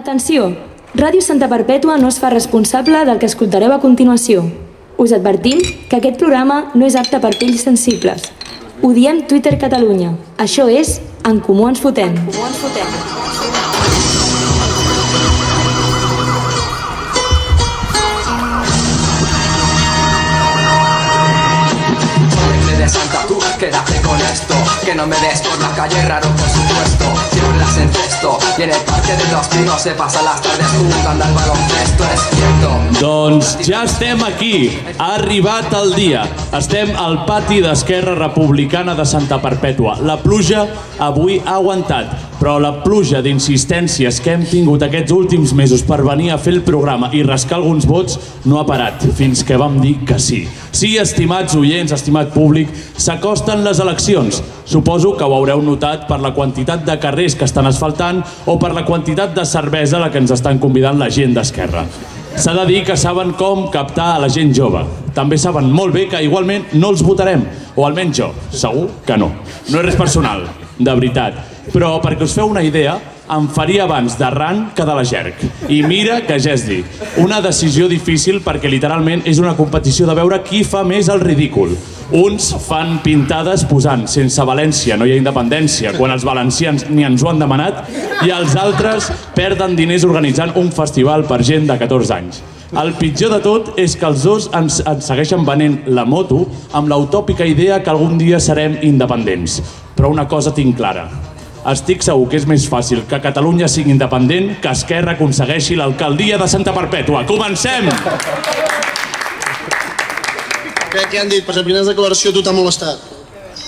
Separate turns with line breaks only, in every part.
Atenció! Ràdio Santa Perpètua no es fa responsable del que escoltareu a continuació. Us advertim que aquest programa no és apte per fills sensibles. Ho diem Twitter Catalunya. Això és En Comú Ens Fotem.
Mente de santa tú, quédate con esto Que no me des por la calle, raro por supuesto Siempre las encesto Y en el parque de los pinos se pasan las tardes jugando al baloncesto Es cierto
Doncs ja estem aquí, ha arribat el dia. Estem al pati d'Esquerra Republicana de Santa Perpètua. La pluja avui ha aguantat, però la pluja d'insistències que hem tingut aquests últims mesos per venir a fer el programa i rascar alguns vots no ha parat, fins que vam dir que sí. Sí, estimats oients, estimat públic, s'acosten les eleccions. Suposo que ho haureu notat per la quantitat de carrers que estan asfaltant o per la quantitat de cervesa a la que ens estan convidant la gent d'Esquerra. S'ha de dir que saben com captar a la gent jove. També saben molt bé que igualment no els votarem, o almenys jo, segur que no. No és res personal, de veritat. Però perquè us feu una idea, em faria abans de RAN que de la GERC. I mira que ja és dir, una decisió difícil perquè literalment és una competició de veure qui fa més el ridícul. Uns fan pintades posant sense València no hi ha independència quan els valencians ni ens ho han demanat i els altres perden diners organitzant un festival per gent de 14 anys. El pitjor de tot és que els dos ens, ens segueixen venent la moto amb l'utòpica idea que algun dia serem independents. Però una cosa tinc clara. Estic segur que és més fàcil que Catalunya sigui independent que Esquerra aconsegueixi l'alcaldia de Santa Perpètua. Comencem!
Crec que han dit, per la primera declaració tu t'ha molestat.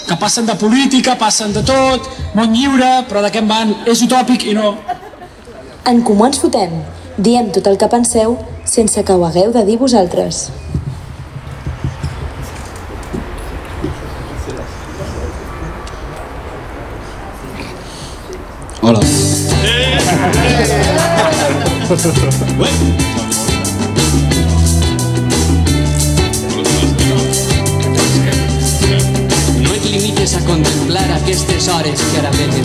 que passen de política, passen de tot, món lliure, però de què en van? És utòpic i no.
En Comú Ens Fotem. Diem tot el que penseu sense que ho hagueu de dir vosaltres.
Hola.
No et limites a contemplar aquestes hores que ara venen.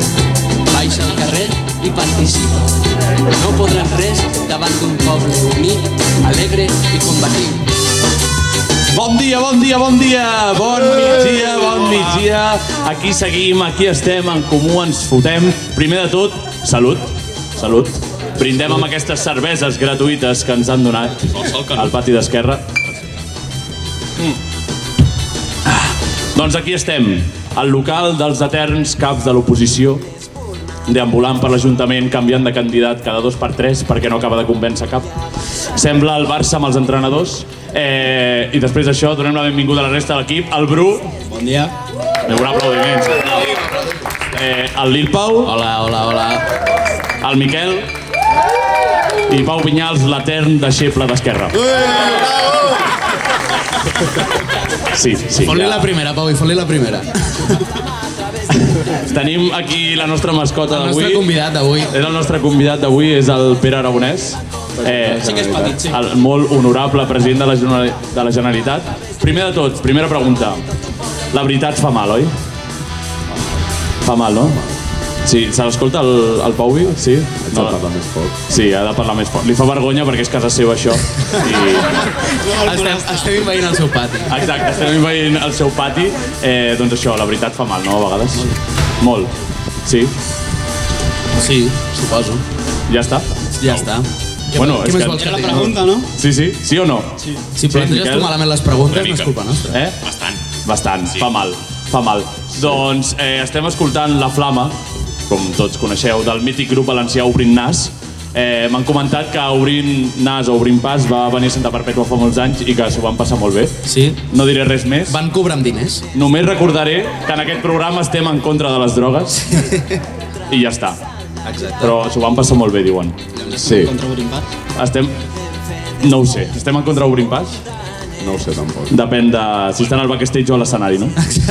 Baixa al carrer i participa. No podran res davant d'un poble unit, alegre i combatiu.
Bon dia, bon dia, bon dia, bon migdia, bon migdia. Aquí seguim, aquí estem, en comú ens fotem. Primer de tot, salut, salut. Brindem amb aquestes cerveses gratuïtes que ens han donat al pati d'Esquerra. Ah, Doncs aquí estem, al local dels eterns caps de l'oposició, deambulant per l'Ajuntament, canviant de candidat cada dos per tres perquè no acaba de convèncer cap. Sembla el Barça amb els entrenadors. Eh, I després d'això donem la benvinguda a la resta de l'equip, al Bru,
Bon dia.
amb un aplaudiment. si us plau. Eh, el Lil Pau,
Hola, hola, hola.
el Miquel i Pau Vinyals, l'etern deixeble d'Esquerra. Sí, sí.
Fot-li la primera, Pau, i fot-li la primera.
Tenim aquí la nostra mascota
El
d'avui.
nostre convidat d'avui.
És el nostre convidat d'avui, és el Pere Aragonès. Eh, sí que és petit, sí. El molt honorable president de la, Generali- de la Generalitat. Primer de tot, primera pregunta. La veritat fa mal, oi? Fa mal, no? Sí, se l'escolta el, el Pauvi? Sí? No, parla més fort. Sí, ha de parlar més fort. Li fa vergonya perquè és casa seva, això. I,
Estem, estem invadint el seu pati.
Exacte, estem invadint el seu pati. Eh, doncs això, la veritat fa mal, no? A vegades. Molt. Sí,
Sí, suposo.
ja està.
Ja està.
Bueno,
Què
és
més
que-
vols que la pregunta, no?
Sí, sí, sí o no? Sí.
Si planteges
Miquel?
tu malament les preguntes, no és culpa nostra.
Eh? Bastant. Bastant, sí. fa mal, fa mal. Doncs eh, estem escoltant La Flama, com tots coneixeu, del mític grup valencià Obrint Nas. Eh, M'han comentat que Obrint Nas o Obrint Pas va venir a Santa Perpètua fa molts anys i que s'ho van passar molt bé.
Sí.
No diré res més.
Van cobrar amb diners.
Només recordaré que en aquest programa estem en contra de les drogues i ja està. Exacte. Però s'ho van passar molt bé, diuen.
Sí,
Estem... No ho sé. Estem en contra d'Obrint Pas?
no ho sé tampoc.
Depèn de si estan al backstage o a l'escenari, no? Sí.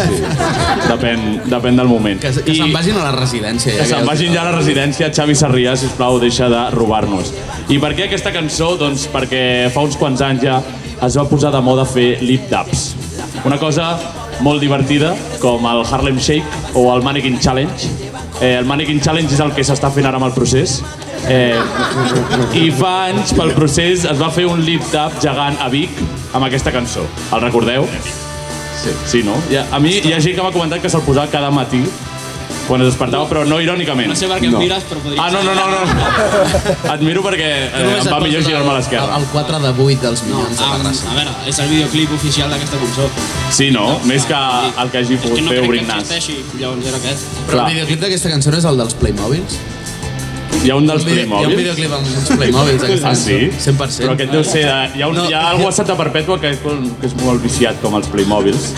Depèn, depèn del moment.
Que, que se'n vagin a la residència.
que se'n vagin ja a la residència. Xavi Sarrià, sisplau, deixa de robar-nos. I per què aquesta cançó? Doncs perquè fa uns quants anys ja es va posar de moda fer lip-taps. Una cosa molt divertida, com el Harlem Shake o el Mannequin Challenge, Eh, el Mannequin Challenge és el que s'està fent ara amb el procés. Eh, I fa anys, pel procés, es va fer un lip-tap gegant a Vic amb aquesta cançó. El recordeu? Sí, sí no? Hi ha, a mi hi ha gent que m'ha comentat que se'l posava cada matí quan es despertava, però no irònicament.
No sé per què em mires, però podria...
Ah, no, no, no, no. Admiro perquè eh, em va millor girar-me a l'esquerra.
El, el 4 de 8 dels milions de
Ah,
la raça.
a veure, és el videoclip oficial d'aquesta cançó.
Sí, no? Més que
Ah,
el que hagi
és
pogut
que no
fer
crec que
Obrint Nas.
existeixi, llavors era aquest.
Però
Clar.
el videoclip d'aquesta cançó no és el dels Playmobils?
Hi ha un dels
Hi ha un vide- Hi ha un
Playmobils?
videoclip amb uns Playmobils. aquesta
Ah, sí?
cançó. 100%.
Però aquest deu ser... De, hi ha, un,
No.
hi ha algú a Santa Perpètua que és, com- que és molt viciat com els Playmobils.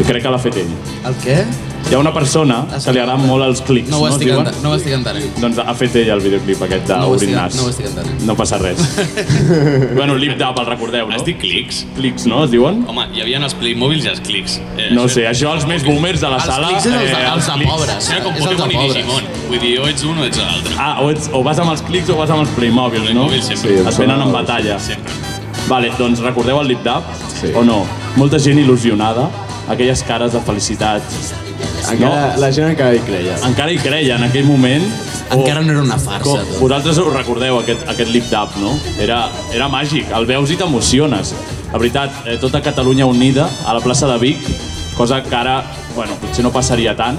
I crec que l'ha fet ell.
El què?
Hi ha una persona que li agraden molt els clics,
No ho
no?
estic,
Diuen?
enta- no ho estic entenent.
Doncs ha fet ell el videoclip aquest
No ho
d'Obrin
estic-
Nas.
no ho estic entenent.
No passa res. bueno, Lip Dab, el recordeu, no?
Has dit clics?
Clics, no? Es diuen?
Home, hi havia els Playmobils i els clics. Eh,
No ho
això-
sé, això els més boomers de la
Els
sala...
clics és els de,
eh,
els de
clics.
pobres.
Era com
és els de
Pokémon i
pobres.
Digimon. Vull dir, o ets un o ets l'altre.
Ah, o, ets, o vas amb els clics o vas amb els Playmobils, no?
Playmobil sempre.
es venen en batalla.
Sempre.
Vale, doncs recordeu el Lip Dab? Sí. O no? Molta gent il·lusionada, aquelles cares de felicitat.
Encara,
No?
La gent encara hi creia.
Encara hi creia en aquell moment.
Encara no era una
Com,
farsa, tot.
vosaltres ho recordeu, aquest, aquest lip dab, no? Era, era màgic, el veus i t'emociones. La veritat, eh, tota Catalunya unida a la plaça de Vic, cosa que ara, bueno, potser no passaria tant,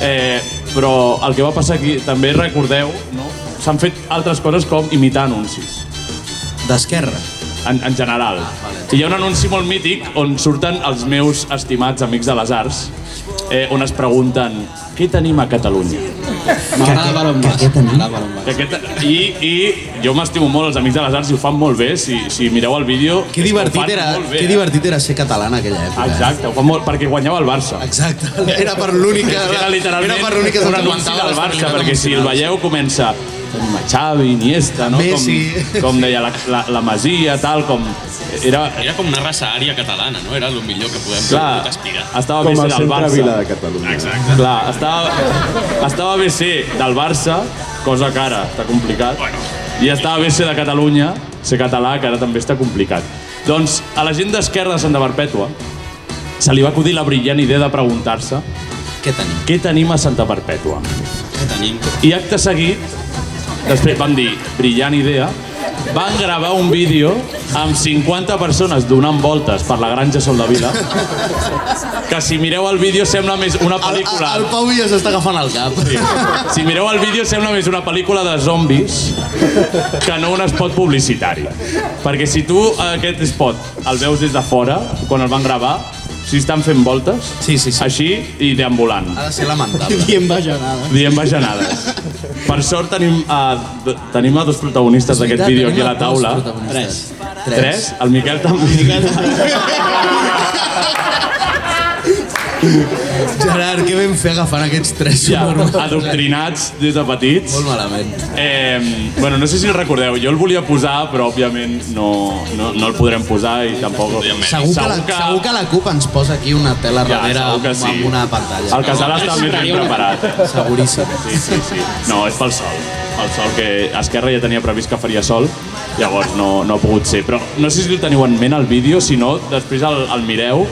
eh, però el que va passar aquí, també recordeu, no? s'han fet altres coses com imitar anuncis
D'esquerra.
en, en general. I hi ha un anunci molt mític on surten els meus estimats amics de les arts, eh, on es pregunten què tenim a Catalunya?
M'agrada per on vas. M'agrada per on vas.
Que Aquest, i, I jo m'estimo molt els amics de les arts i ho fan molt bé, si, si mireu el vídeo...
Que
ho
divertit,
fan
era,
molt bé,
que
eh?
divertit era ser català en aquella època.
Exacte, ho fan molt, perquè guanyava el Barça.
Exacte. Era per l'únic que...
Era literalment
Era per l'únic que
un anunci
s'aguantava
del Barça,
l'estabilitat
perquè si el
emocional.
veieu comença tenim a Xavi, Iniesta, no?
Messi.
Com, com deia la, la, la Masia, tal, com... Era,
Era com una raça ària catalana, no? Era el millor que podem
clar,
pogut aspirar.
estava
Com
Messi
el
del
centre
Barça.
vila de Catalunya.
Exacte.
Clar, estava, estava BC del Barça, cosa que ara està complicat,
Bueno.
i estava BC de Catalunya, ser català, que ara també està complicat. Doncs a la gent d'esquerra de Santa Perpètua se li va acudir la brillant idea de preguntar-se
Què tenim?
què tenim a Santa Perpètua.
Què tenim?
I acte seguit, després van dir, brillant idea, van gravar un vídeo amb 50 persones donant voltes per la granja Sol de Vila, que si mireu el vídeo sembla més una
El, el,
pel·lícula...
el Pau ja s'està agafant el cap.
Si mireu el vídeo sembla més una pel·lícula de zombis que no un spot publicitari. Perquè si tu aquest spot el veus des de fora, quan el van gravar, si estan fent voltes,
Sí, sí, sí.
així i deambulant,
Ha de ser lamentable.
Diem bajanada.
dient bajanades. Per sort tenim a, d- tenim a dos protagonistes d'aquest Doncs vídeo
eh?
aquí a la taula.
Tres.
Tres. El Miquel també.
Gerard, què vam fer agafant aquests tres
Ja,
subnormals?
adoctrinats des de petits.
Molt malament.
Eh, bueno, no sé si el recordeu, jo el volia posar, però òbviament no, no, no el podrem posar i tampoc...
Segur que, la, segur que la CUP ens posa aquí una tela
Ja,
darrere
segur que
amb,
sí.
amb una pantalla.
El casal està més ben preparat.
Seguríssim.
Sí, sí, sí. No, és pel sol. El sol que Esquerra ja tenia previst que faria sol, llavors no, no ha pogut ser. Però no sé si el teniu en ment el vídeo, si no, després el, el mireu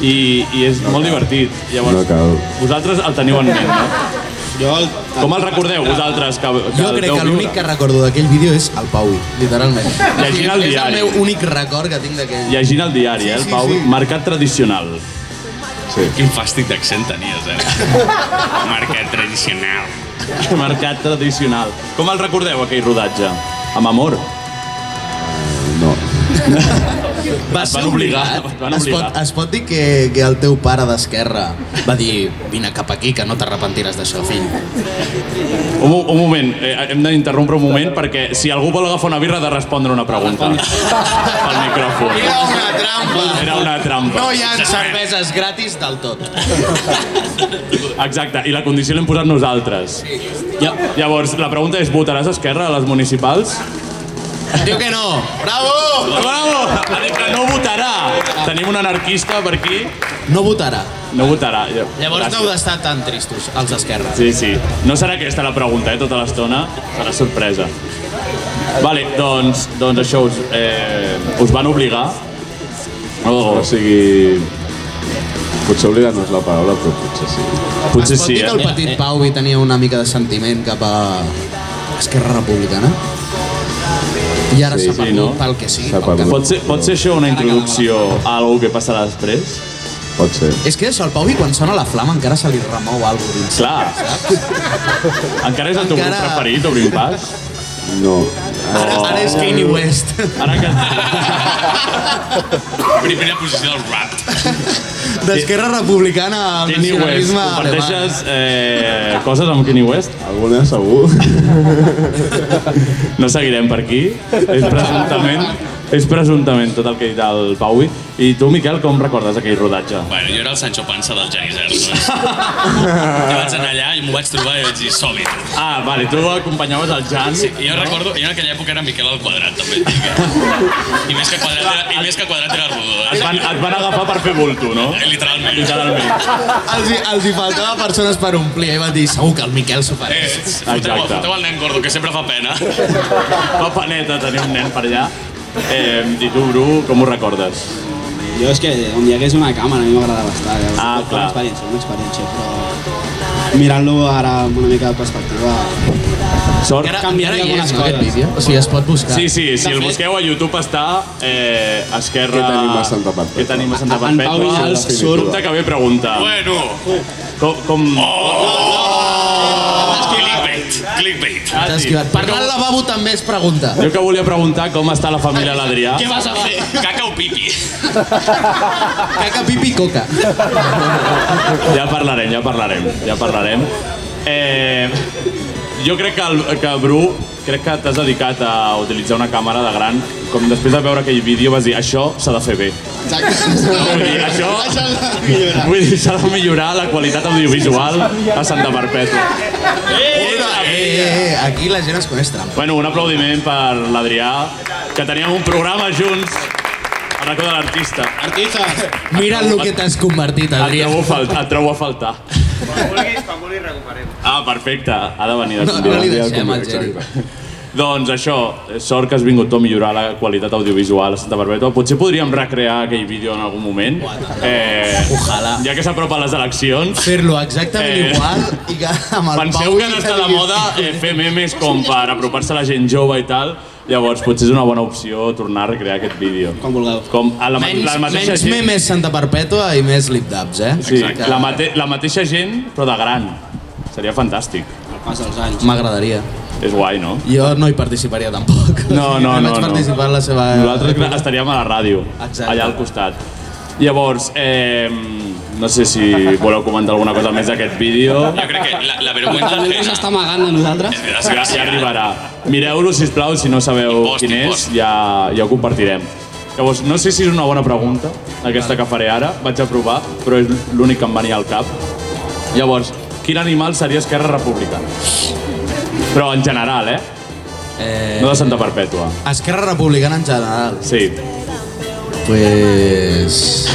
i, i és molt divertit. Llavors,
No cal.
vosaltres el teniu en ment, no?
Jo... el-
Com el recordeu vosaltres? Que, que
Jo
el
crec
veu
que l'únic que
viure?
recordo d'aquell vídeo és el Pau, literalment.
Llegint el
És el
diari.
meu únic record que tinc d'aquell.
Llegint el diari, eh, el
Sí, sí,
Pau,
sí.
mercat tradicional.
Quin fàstic d'accent tenies, eh? Marca tradicional.
Mercat tradicional. Com el recordeu, aquell rodatge? Amb amor.
No.
Va
Et van obligar, et van
Es
obligar.
pot, es pot dir que, que el teu pare d'esquerra va dir vine cap aquí que no t'arrepentiràs d'això, fill.
Un, mo- un moment, eh, hem d'interrompre un moment perquè si algú vol agafar una birra ha de respondre una pregunta al micròfon.
Era una trampa.
Era una trampa.
No hi ha cerveses gratis del tot.
Exacte, i la condició l'hem posat nosaltres. Ja, llavors, la pregunta és, votaràs esquerra a les municipals?
Diu que no. Bravo!
Bravo! Ha dit que no votarà! Tenim un anarquista per aquí.
No votarà.
No votarà. Ja,
Llavors no heu
gràcies.
d'estar tan tristos, els d'esquerra.
Sí, sí. No serà aquesta la pregunta, eh, tota l'estona. Serà sorpresa. Vale, doncs, doncs això us, eh, us van obligar. Oh,
O sigui... Potser oblidar no és la paraula, però potser sí.
es pot dir
eh?
que el petit Pauvi tenia una mica de sentiment cap a Esquerra Republicana? I ara s'ha perdut pel que sigui. pel que-
Pot ser, pot ser això una introducció a alguna que passarà després?
Pot ser.
És que això, el Pauvi, quan sona la flama, encara se li remou alguna cosa.
Clar. Encara és el teu grup preferit, obrim pas?
No.
Ara,
ara és Kanye West.
Ara que...
Primera posició del rap.
D'Esquerra Republicana al
Kanye West,
nacionalisme alemany.
comparteixes eh, coses amb Kanye West?
Alguna, segur.
No seguirem per aquí. És presumptament, és presumptament tot el que ha dit el Paui. I tu, Miquel, com recordes aquell rodatge?
Bueno, jo era el Sancho Panza del Janis Ersos. que vaig anar allà i m'ho vaig trobar i vaig dir, som-hi.
Ah, vale, tu acompanyaves el Jan.
Sí, i jo recordo, jo en aquella època era Miquel al quadrat, també et dic. eh? I més que quadrat era, i més que quadrat era rodó. eh?
Et van, et van agafar per fer bulto, no?
Literalment.
Literalment.
Els, hi- els hi faltava persones per omplir i va dir segur que el Miquel s'ho fareix.
Eh, Foteu, foteu el nen gordo, que sempre fa pena.
Fa paneta tenir un nen per allà. Eh, I tu, Bru, com ho recordes?
Jo és que on hi hagués una càmera a mi m'agradava estar. Llavors,
Ah,
Una
clar.
experiència, una experiència, però mirant-lo ara amb una mica de perspectiva...
Sort.
Encara,
encara hi
canviaria
és,
algunes
no,
coses.
aquest vídeo? O sigui, es pot buscar.
Sí, sí, si
De
el
fet-
busqueu a YouTube està eh, Esquerra...
Què tenim a Santa Perpètua?
Què tenim a Santa
En Pau
Perpètua?
Vinyals
Definitiva.
surt-
Dubte que ve pregunta.
Bueno, Oh!
Com... com... Oh!
clickbait, clickbait.
Ah,
T'has
sí.
esquivat. Parlar al lavabo també es pregunta.
Jo que volia preguntar com està la família l'Adrià.
Què vas a fer? Caca o pipi?
Caca, pipi, coca.
Ja parlarem, ja parlarem, ja parlarem. Eh, jo crec que, el, que Bru, crec que t'has dedicat a utilitzar una càmera de gran, com després de veure aquell vídeo vas dir, això s'ha de fer bé. Vull dir, això, vull dir, s'ha de millorar la qualitat audiovisual a Santa Perpètua.
Eh, eh, eh, aquí la gent es coneix trampa.
Bueno, un aplaudiment per l'Adrià, que teníem un programa junts a racó de l'artista.
Artistes!
Mira el que t'has convertit,
Et
Adrià.
trobo, a fal- et trobo a faltar. Ah, perfecte, ha de venir de
No, no li deixem el Geri.
Doncs això, sort que has vingut tu a millorar la qualitat audiovisual a Santa Perpètua. Potser podríem recrear aquell vídeo en algun moment. Eh,
Ojalà.
Ja que s'apropa les eleccions,
Fer-lo exactament
Eh.
igual i que amb el
penseu
Pau
que ara està de moda eh, fer memes com per apropar-se a la gent jove i tal. Llavors potser és una bona opció tornar a recrear aquest vídeo.
Com vulgueu.
Com a la, ma-
Menys,
la mateixa
menys
gent.
memes Santa Perpètua i més lip-dubs, eh?
Sí,
Que
la, mate la mateixa gent, però de gran. Seria fantàstic.
Al pas dels anys.
M'agradaria.
És guai, no?
Jo no hi participaria tampoc.
No, no, no,
vaig
no.
participar en la seva...
Nosaltres clar, estaríem a la ràdio,
Eh, Exacte.
allà al costat. Llavors, eh, no sé si voleu comentar alguna cosa més d'aquest vídeo.
Jo crec que la, la vergüenza
El Nando s'està
ajena...
amagant de nosaltres.
Ja, ja arribarà. Mireu-lo, sisplau, si no sabeu
Impost,
quin és,
impost.
ja, ja ho compartirem. Llavors, no sé si és una bona pregunta, aquesta que faré ara, vaig a provar, però és l'únic que em venia al cap. Llavors, quin animal seria Esquerra Republicana? Però en general, eh?
Eh,
No de Santa Perpètua.
Esquerra Republicana en general.
Sí,
Pues...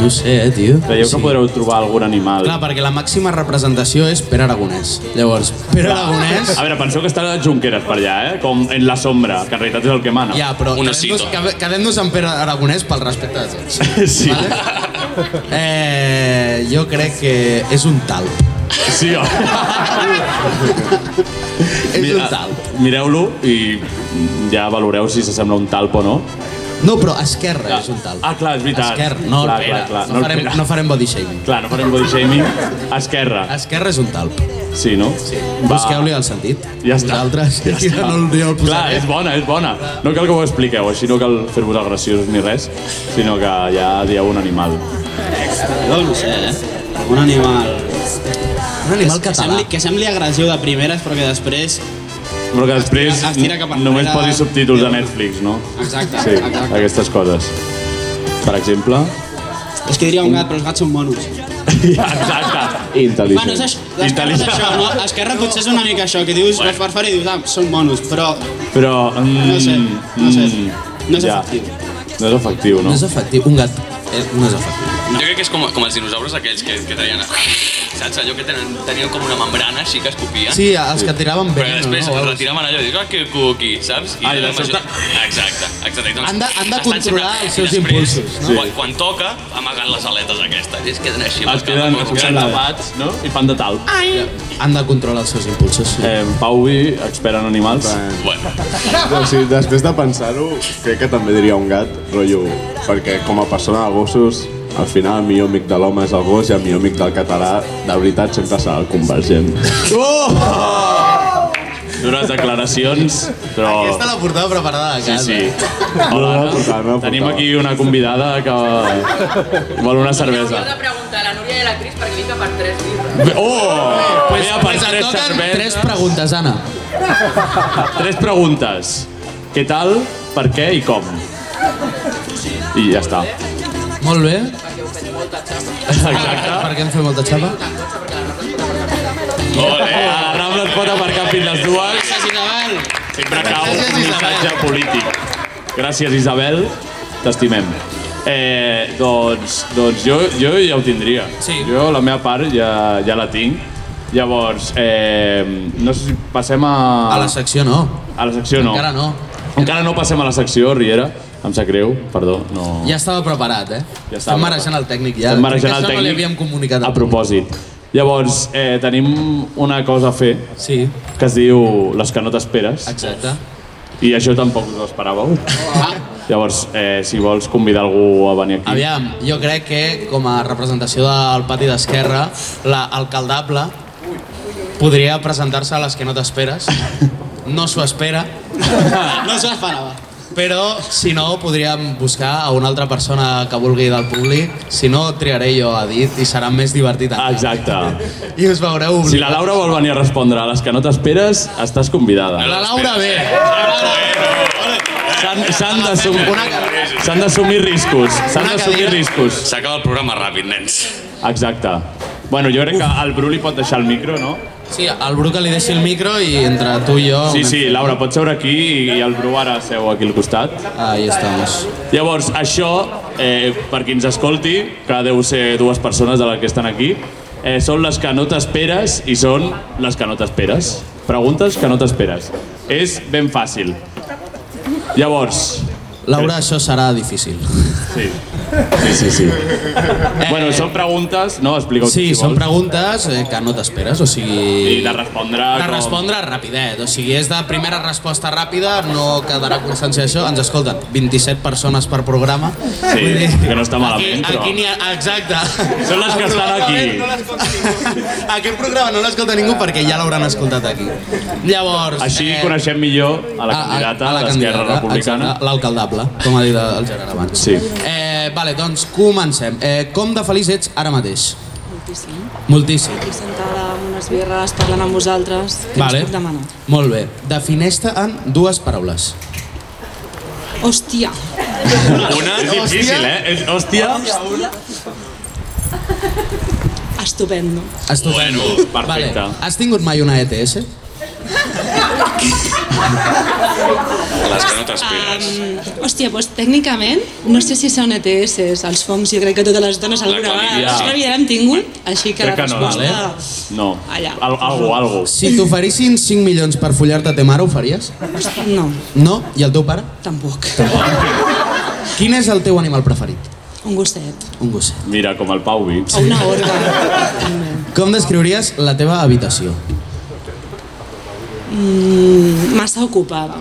No ho sé, eh, tio.
creieu que podreu trobar algun animal.
Clar, perquè la màxima representació és Pere Aragonès. Llavors, Pere Aragonès...
A veure, penseu que està les Junqueras per allà, eh? Com en la sombra, que en realitat és el que mana.
Ja, però
Un
quedem-nos
osito.
quedem quedem-nos amb Pere Aragonès pel respecte de tots.
Sí.
Vale? Eh, jo crec que és un talp.
Sí, o...
És un talp.
Mireu-lo i ja valoreu si s'assembla a un talp o no.
No, però Esquerra és un talp.
Ah, clar, és veritat.
Esquerra, no el
clar,
Pere.
Clar, clar,
no, farem, no farem body shaming.
Clar, no farem body shaming. Esquerra,
Esquerra és un talp.
sí, no? Sí.
Busqueu-li el sentit.
Ja està.
Vosaltres,
Ja està.
No, el- no el
Clar,
posaré.
és bona, és bona. No cal que ho expliqueu, així no cal fer-vos agressius ni res, sinó que ja dieu un animal.
Jo no sé, eh? Un animal...
Un animal
Que
català.
sembli, que sembli agressiu de primeres, però que després...
Però que després
ah,
Estira- estira cap enrere.
només posi subtítols a Netflix, no?
Exacte,
Sí,
exacte.
aquestes coses. Per exemple...
És que diria un gat, però els gats són Ah, monos.
Ja, exacte.
Intel·ligent.
Bueno, és això, l'esquerra és
Intel·ligent.
això, no? Esquerra potser és una mica això, que dius, bueno. per fora i dius, ah, són monos, però
Però... Mm,
No sé, no sé.
mm,
No és efectiu.
No és efectiu, no?
No és efectiu. Un gat eh, no és efectiu.
Jo crec que és com, com els dinosaures aquells que, que traien... Saps? Allò que tenen, tenien com una membrana així que escopien.
Sí, els que tiraven
Però
veneno,
després
no? O
no,
algo
retiraven allò i dius, ah, que cuqui, saps? I
Ah, i de
la major-
sobte-
Exacte, exacte. I Doncs,
Han de- han de
estan
controlar
sempre-
els
i
seus impulsos, no?
Sí. Quan, quan toca, amagant les aletes aquestes. I es queden així. amb
Es
el cap
queden,
com
es queden
arrugats.
tapats, no? I fan de tal.
Ai!
Han de controlar els seus impulsos. Sí.
Eh, Pau Vi, expert en animals.
Bueno.
O sigui, després de pensar-ho, crec que també diria un gat, rotllo, perquè com a persona de gossos, al final el millor amic de l'home és el gos i el millor amic del català, de veritat, sempre serà el convergent.
Oh! Dures declaracions, però...
Aquesta la portava preparada a
Sí,
casa.
sí. Hola, Anna. Tenim aquí una convidada que vol una cervesa.
Hauríeu de preguntar a la Núria i a la Cris perquè vinc a per tres birres.
Oh!
Pues,
Mira, per
pues et
tres
toquen
cerveses.
tres preguntes, Anna.
Tres preguntes. Què tal, per què i com? I ja està.
Molt bé.
Exacte.
Per què em feu molta xapa?
Molt bé. A la Rambla es pot aparcar fins les dues. Sempre cau un missatge polític. Gràcies, Isabel. T'estimem. Eh, doncs, doncs jo, jo ja ho tindria. Sí. Jo la meva part ja, ja la tinc. Llavors, eh, no sé si passem a...
A la secció no.
A la secció no.
Encara no.
Encara no passem a la secció, Riera. Em sap greu, perdó. No...
Ja estava preparat, eh? Ja
estava
Estem marejant el tècnic ja.
Estem marejant
Crec
el
que Això no li
tècnic.
havíem comunicat.
A propòsit. Llavors, eh, tenim una cosa a fer sí. que es diu Les que no t'esperes.
Exacte.
I això tampoc us ho esperàveu. Llavors, eh, si vols convidar algú a venir aquí.
Aviam, jo crec que com a representació del pati d'Esquerra, l'alcaldable podria presentar-se a les que no t'esperes. No s'ho espera. No s'ho esperava. Però, si no, podríem buscar a una altra persona que vulgui del públic. Si no, triaré jo a dit i serà més divertit.
Exacte.
I us veureu obligats.
Si la Laura vol venir a respondre a les que no t'esperes, estàs convidada.
La Laura ve.
S'han s'han d'assumir s'han d'assumir riscos. S'han d'assumir riscos.
S'acaba el programa ràpid, nens.
Exacte. Bueno, jo crec que el Bru li pot deixar el micro, no?
Sí, al Bru que li deixi el micro i entre tu i jo...
Sí, sí, Laura, pots seure aquí i el Bru ara seu aquí al costat.
Ahí estamos.
Llavors, això, eh, per qui ens escolti, que deu ser dues persones de les que estan aquí, eh, són les que no t'esperes i són les que no t'esperes. Preguntes que no t'esperes. És ben fàcil. Llavors...
Laura, això serà difícil.
Sí. Sí, sí, sí. Bueno, són preguntes, no? Explica-ho
Sí,
tu, si
són
vols.
preguntes eh, que no t'esperes, o sigui...
I de respondre
De
com-
respondre rapidet, o sigui, és de primera resposta ràpida, no quedarà constància d'això. Ens escolten 27 persones per programa.
Sí, que no està malament,
Aquí,
però...
aquí n'hi ha... Exacte.
Són les que estan aquí.
Aquest programa no l'escolta ningú perquè ja l'hauran escoltat aquí. Llavors... eh,
Així coneixem millor a la candidata
la
a l'Esquerra
candidata,
Republicana.
exacte, L'alcaldable, com ha dit el Gerard abans.
Sí.
Eh, vale, doncs comencem. Eh, com de feliç ets ara mateix?
Moltíssim.
Moltíssim.
Estic sentada amb unes birres parlant amb vosaltres. Què
Vale.
us puc demanar?
Molt bé. Defineix-te en dues paraules.
Hòstia.
Una és difícil, eh? És, hòstia...
Estupendo.
Estupendo.
Bueno, perfecte.
Vale. Has tingut mai una E ETS?
Les que no t'esperes.
Um, hòstia, doncs tècnicament, no sé si són ETS, els FOMs, jo crec que totes les dones alguna vegada.
clamidia.
Nosaltres la vida l'hem tingut, així que
Crec
la
que no,
resposta...
vale. No.
Allà.
Al, algo, algo.
Si t'oferissin 5 milions per follar-te a te mare, ho faries?
No,
No? I el teu pare?
Tampoc.
Quin és el teu animal preferit?
un gosset.
Un gosset.
Mira, com el Pau Vi.
O una orga.
Com descriuries la teva habitació?
Mm, massa ocupada.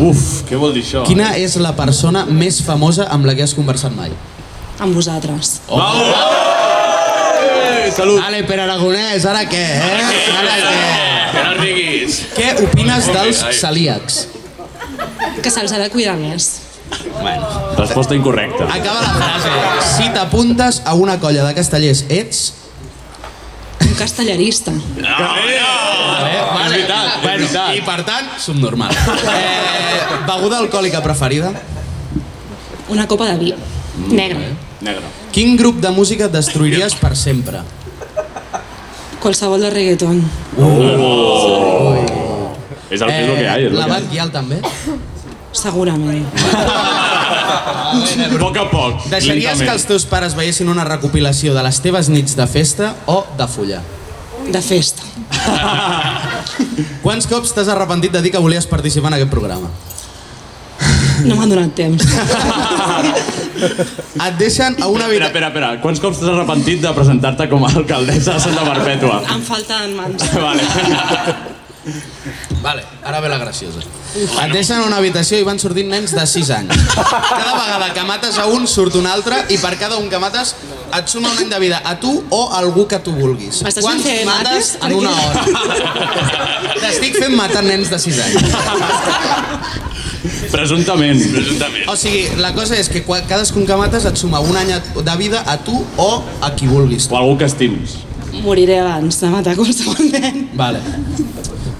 Uf, què vol dir això?
Quina és la persona més famosa amb la que has conversat mai?
Amb vosaltres.
Oh. Salut. Vale, Pere Aragonès, ara què, eh? Ara què?
Que no riguis.
Què opines dels
Ai.
celíacs?
Que se'ls ha de cuidar més.
Resposta incorrecta.
Acaba la frase. Si t'apuntes a una colla de castellers, ets...
Un castellarista.
Vale. Ah, És veritat, bueno, I per tant, subnormal. Eh, beguda alcohòlica preferida?
Una copa de vi. Negre.
Negre.
Quin grup de música et destruiries per sempre?
Qualsevol de reggaeton.
És el que és el que hi ha.
Eh, la Bat Guial també?
Segurament.
A poc a poc.
Deixaries que els teus pares veiessin una recopilació de les teves nits de festa o de fulla?
De festa.
Quants cops t'has arrepentit de dir que volies participar en aquest programa?
No m'han donat temps.
Et deixen a una
vida... Espera, espera, espera. Quants cops t'has arrepentit de presentar-te com a alcaldessa de Santa Perpètua?
Em falten mans.
vale.
Vale, ara ve la graciosa. Et deixen a una habitació i van sortint nens de 6 anys. Cada vegada que mates a un, surt un altre i per cada un que mates et suma un any de vida a tu o a algú que tu vulguis.
M'estàs fent
Quants
fer
mates
mates?
en una hora? T'estic fent matar nens de 6 anys.
Presumptament.
Presumptament.
O sigui, la cosa és que qua- cadascun que mates et suma un any de vida a tu o a qui vulguis.
O algú que estimis.
Moriré abans de matar qualsevol nen.
Vale.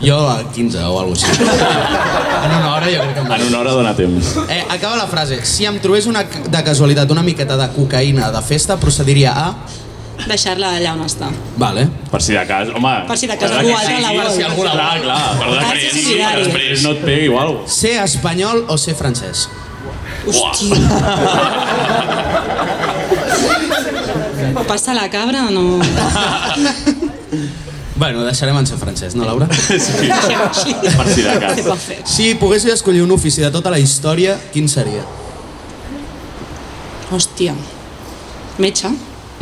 Jo a 15 o alguna cosa així. En una hora jo crec que em
En una hora dona temps.
Eh, acaba la frase. Si em trobés una, ca- de casualitat una miqueta de cocaïna de festa, procediria a...
Deixar-la allà on està.
Vale.
Per si de cas, home...
Per si de cas
per
algú
que
altre
sí,
la
Per
vol.
si algú la vol. Clar, clar. Per
Cas
després,
subsidiari.
que després no et pegui o alguna
Ser espanyol o ser francès?
Passa la cabra o no?
Bueno, deixarem en ser francès, no, Laura? Sí.
Sí.
Per si de cas.
Si poguéssiu escollir un ofici de tota la història, quin seria?
Hòstia. Metge?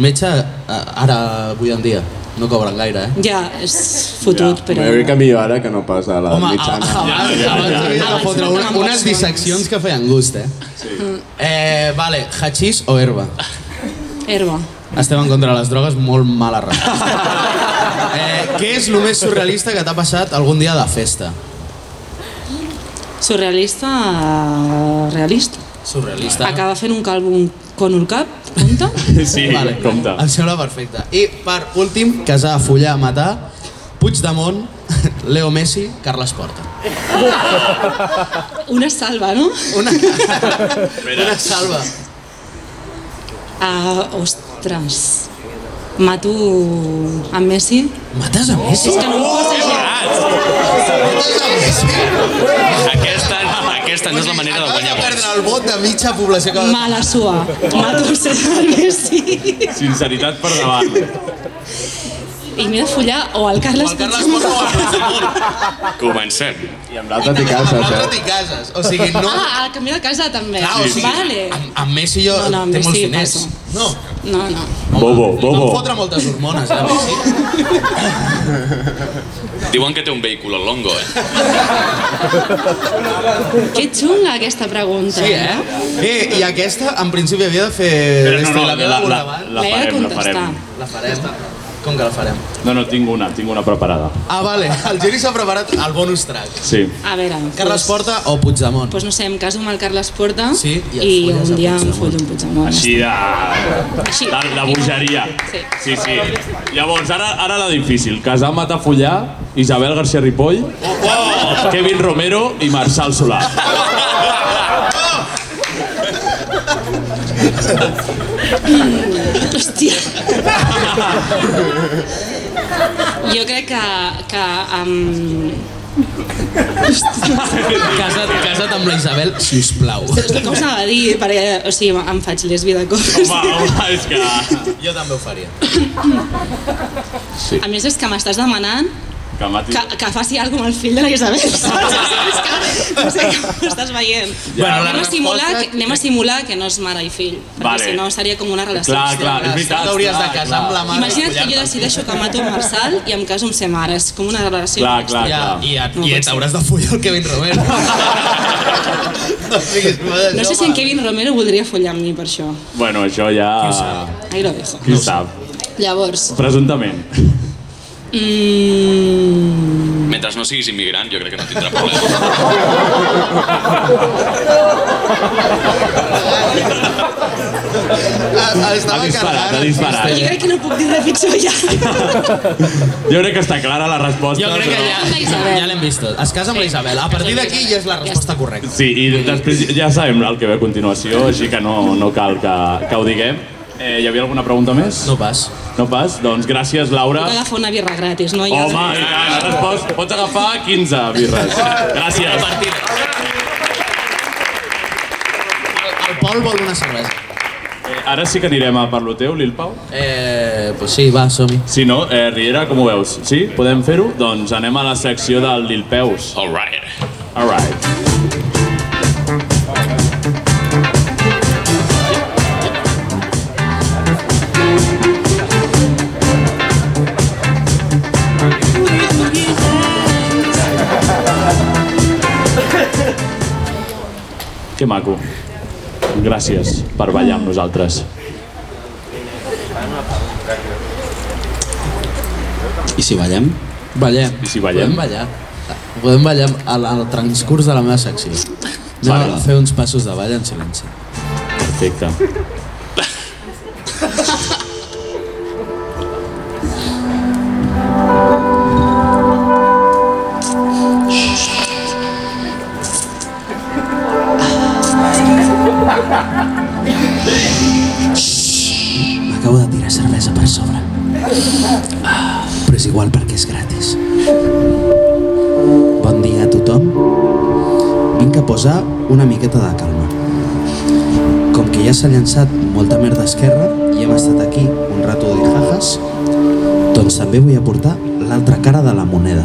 Metge, eh, ara, avui en dia, no cobren gaire, eh?
Ja, és fotut,
Però...
però...
Jo crec que millor ara que no pas a la
Home, ah,
mitjana.
abans ja, ja, ja, ja. fotre una, unes disseccions que feien gust, eh? Sí. Eh, vale, hachís o herba?
Herba.
Estem en contra de les drogues, molt mala raó. Eh, què és el més surrealista que t'ha passat algun dia de festa?
Surrealista, realista.
Surrealista.
Acaba fent un calvo un cònul cap, compte?
Sí,
vale.
compte.
Em sembla perfecte. I per últim, casar, follar, matar, Puigdemont, Leo Messi, Carles Porta.
Una salva, no?
Una,
Una
salva.
Ah, ostres. Mato a Messi.
Mates a Messi?
És que no em Oh,
Aquesta, aquesta no és la manera de guanyar vots.
Perdre el vot de mitja població que...
Mala sua. Mato a Messi.
Sinceritat per davant.
I m'he de follar o al Carles Puigdemont.
Comencem.
I amb l'altre t'hi cases, eh?
T'hi cases, o sigui, no...
Ah, al canvi de casa també.
Clar, Ah, o sigui,
vale.
Amb Messi jo
No, no, amb
té molts
Messi
diners.
passo.
No,
No, no.
Bobo,
Em
bobo.
fotre moltes hormones, eh, Messi?
Diuen que té un vehícul al Longo, eh?
Que xunga aquesta pregunta.
Sí, eh? Eh, i aquesta, en principi, havia de fer...
Però no,
este,
no, Eh,
la,
la-
la,
la-
la,
la
L'he de
farem, la
contestar.
farem.
la farem. Com que la farem?
No, no, tinc una, tinc una preparada.
Ah, vale, el Geri s'ha preparat el bonus track.
Sí.
A veure,
Carles Porta o Puigdemont?
pues no sé, em caso amb el Carles Porta
Sí, i et
i
folles
un
a
dia em
Puigdemont.
follo un Puigdemont.
Així de...
Així.
La, la bogeria.
Sí.
Sí, sí. Llavors, ara, ara la difícil. Casar, matar, follar, Isabel García Ripoll, Kevin Romero i Marçal Solà.
Hòstia. Jo crec que... que um...
Casa't, casa't amb la Isabel, sisplau.
Com s'ha de dir? Perquè, o sigui, em faig lesbi de cop.
Home, home, és que...
Jo també ho faria.
A més, és que m'estàs demanant
Que mati...
que, que faci alguna cosa amb el fill de la Isabel, saps? És que no sé com estàs veient.
Ja. Bueno, la
anem, a simular,
resposta-
que, anem a simular que no és mare i fill, perquè
Vale.
si no seria com una relació
Clar,
extrema.
clar, és veritat.
Tu t'hauries de casar amb la mare.
Imagina't que jo decideixo que mato en Marçal i em caso amb ser mare, és com una relació
Clar, clar,
extrema.
Ja,
clar.
i, et- i t'hauràs de follar el Kevin Romero. no siguis mare,
No sé si en Kevin Romero voldria follar amb mi per això.
Bueno, això ja...
Ahí lo dejo.
Qui ho sap?
Llavors,
Presumptament.
mm,
Mentre no siguis immigrant, jo crec que no tindrà problema.
Ah,
Ha
Estava
disparat, ha
carregant.
disparat.
jo crec que no puc dir res pitjor ja.
Jo crec que està clara la resposta,
Jo crec que
però...
ja, ja l'hem vist tot. Es casa amb la Isabel. A partir d'aquí ja és la resposta correcta.
Sí, i després ja sabem el que ve a continuació, així que no, no cal que, que ho diguem. Eh, hi havia alguna pregunta més?
No pas.
No pas? Doncs gràcies, Laura.
Puc agafar una birra gratis, no? Ja
Home, i tant, ara pots, pots agafar 15 birres. Gràcies.
Partida.
Pol vol una cervesa.
Eh, ara sí que anirem a per lo teu, Lil Pau.
Eh, pues sí, va, som -hi.
Sí, no? Eh, Riera, com ho veus? Sí? Podem fer-ho? Doncs anem a la secció del Lil Peus. All right. All right. Que maco. Gràcies per ballar amb nosaltres.
I si ballem? Ballem.
I si ballem?
Podem ballar. Podem ballar al, al transcurs de la meva secció. Anem
Vale.
a fer uns passos de ball en silenci.
Perfecte.
M'acabo de tirar cervesa per sobre. Ah, però és igual perquè és gratis. Bon dia a tothom. Vinc a posar una miqueta de calma. Com que ja s'ha llançat molta merda esquerra i hem estat aquí un rato de jajas, doncs també vull aportar l'altra cara de la moneda.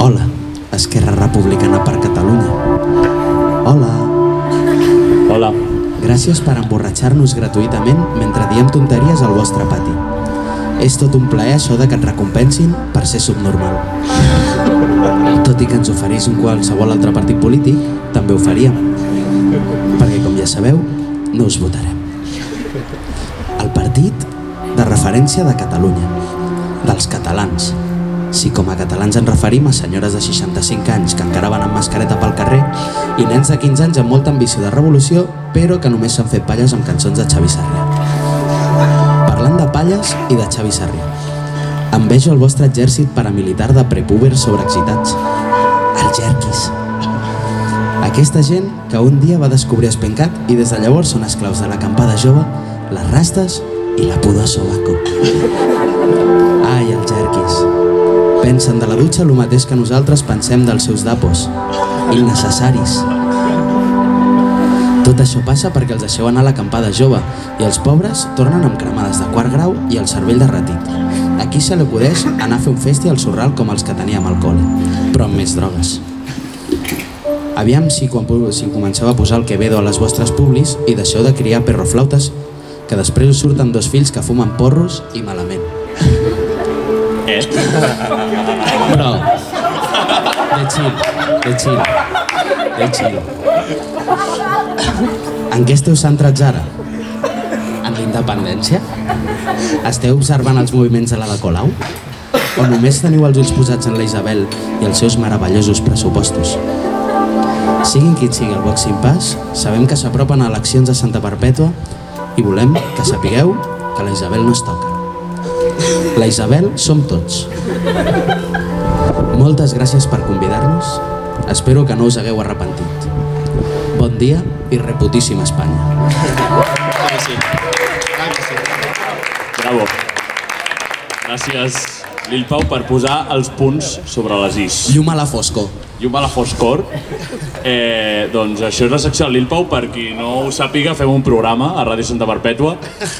Hola, Esquerra Republicana per Catalunya. Hola.
Hola.
Gràcies per emborratxar-nos gratuïtament mentre diem tonteries al vostre pati. És tot un plaer això de que et recompensin per ser subnormal. Tot i que ens ho oferís un qualsevol altre partit polític, també ho faríem. Perquè, com ja sabeu, no us votarem. El partit de referència de Catalunya, dels catalans. Si com a catalans ens referim a senyores de 65 anys que encara van amb mascareta pel carrer i nens de 15 anys amb molta ambició de revolució però que només s'han fet palles amb cançons de Xavi Sarrià. Parlant de palles i de Xavi Sarrià, envejo el vostre exèrcit paramilitar de prepúbers sobreexcitats. Els jerquis. Aquesta gent que un dia va descobrir Espencat i des de llavors són esclaus de l'acampada jove, les rastes i la pudor a sobaco. Ai, els jerquis. Pensen de la dutxa el mateix que nosaltres pensem dels seus dapos. Innecessaris. Tot això passa perquè els deixeu anar a l'acampada jove i els pobres tornen amb cremades de quart grau i el cervell derretit. Aquí se li acudeix anar a fer un festi al sorral com els que teníem al col·le, però amb més drogues. Aviam si, quan, pu- si comenceu a posar el Quevedo a les vostres publis i deixeu de criar perroflautes que després us surten dos fills que fumen porros i malament.
Eh?
Però, de chill, de chill, de chill. En què esteu centrats ara? En la independència? Esteu observant els moviments de la de Colau? O només teniu els ulls posats en la Isabel i els seus meravellosos pressupostos? Siguin qui sigui el Vox Impàs, sabem que s'apropen a eleccions a Santa Perpètua i volem que sapigueu que la Isabel no es toca. La Isabel som tots. Moltes gràcies per convidar-nos. Espero que no us hagueu arrepentit. Bon dia i reputíssima Espanya.
Bravo. Gràcies, Lil Pau, per posar els punts sobre les is.
Llum a la foscor.
Llum a la foscor. Eh, doncs això és la secció de Lil Pau. Per qui no ho sàpiga, fem un programa a Ràdio Santa Perpètua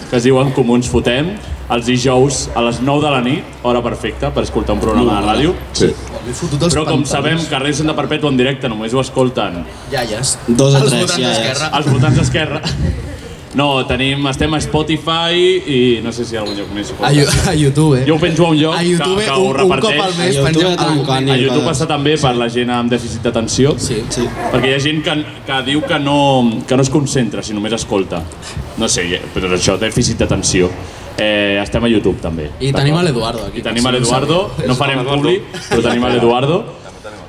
que es diu En Comú ens fotem els dijous a les 9 de la nit, hora perfecta per escoltar un programa de ràdio.
Sí.
M'he fotut
Però com sabem que Ràdio Santa Perpètua en directe només ho escolten
Iaies. Dos a tres, iaies.
Els votants d'esquerra. No, tenim, estem a Spotify i no sé si hi ha algun lloc més.
A, Yo- a YouTube. eh?
Jo ho penjo a un lloc
A YouTube,
que, que ho
un- un
reparteix.
cop al mes A YouTube pengem algun tanco, vídeo.
A YouTube
Nicolas.
passa també per la gent amb dèficit d'atenció.
Sí, sí.
Perquè hi ha gent que, que diu que no, que no es concentra, si només escolta. No sé, però això, dèficit d'atenció. Eh, estem a YouTube també.
I tenim a l'Eduardo aquí.
I tenim a l'Eduardo, no farem públic, però tenim a l'Eduardo.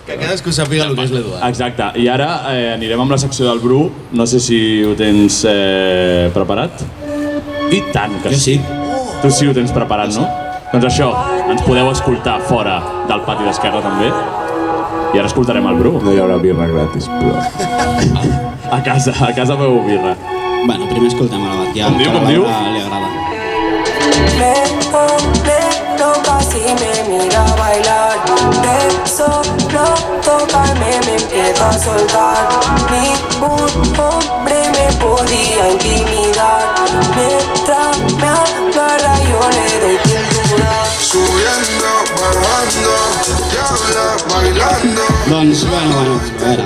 Que cadascú sàpiga el que és l'Eduardo.
Exacte, i ara eh, anirem amb la secció del Bru. No sé si ho tens eh, preparat. I tant que sí. Tu sí ho tens preparat, no? Doncs això, ens podeu escoltar fora del pati d'esquerra també. I ara escoltarem el Bru.
No hi haurà birra gratis, però...
A casa, a casa meu birra.
Bueno, primer escoltem a la Batia.
Com diu,
que a la
com diu?
Bárbara Li agrada.
Me toca si me mira bailar, de solo tocarme me empiezo
va soltar. Ningún hombre me podía intimidar. Mientras me agarra, yo le doy pintura. Subiendo, bajando, diabla, bailando.
Doncs, bueno, bueno, a veure,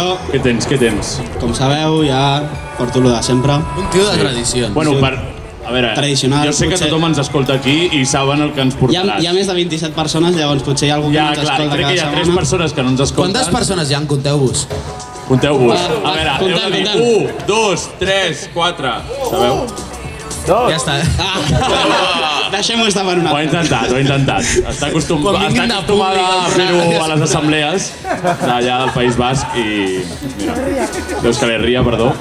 jo...
Què tens, què tens?
Com sabeu, ja porto lo de sempre. Un
tio de tradicions.
Bueno, per... A veure,
Tradicional,
jo sé que
potser-
tothom ens escolta aquí i saben el que ens
Hi ha,
portaràs.
hi ha més de 27 persones, llavors potser hi ha algú que
Ja,
no ens
clar,
escolta
crec
cada
que hi ha tres
setmana.
persones que no ens escolten.
Quantes persones
hi ha? Compteu-vos.
Compteu-vos.
Va,
A
va,
veure,
comptem,
heu de dir
comptem.
1, 2, 3, 4. Sabeu? Dos.
Ja està.
Ah.
Deixem-ho estar per una
Ho ha intentat, ho ha intentat. Està, acostum...
Quan
està
vinguin de
acostumada a
públic,
fer-ho a
gràcies.
les assemblees d'allà del País Basc i... Mira, Deus que ria, perdó.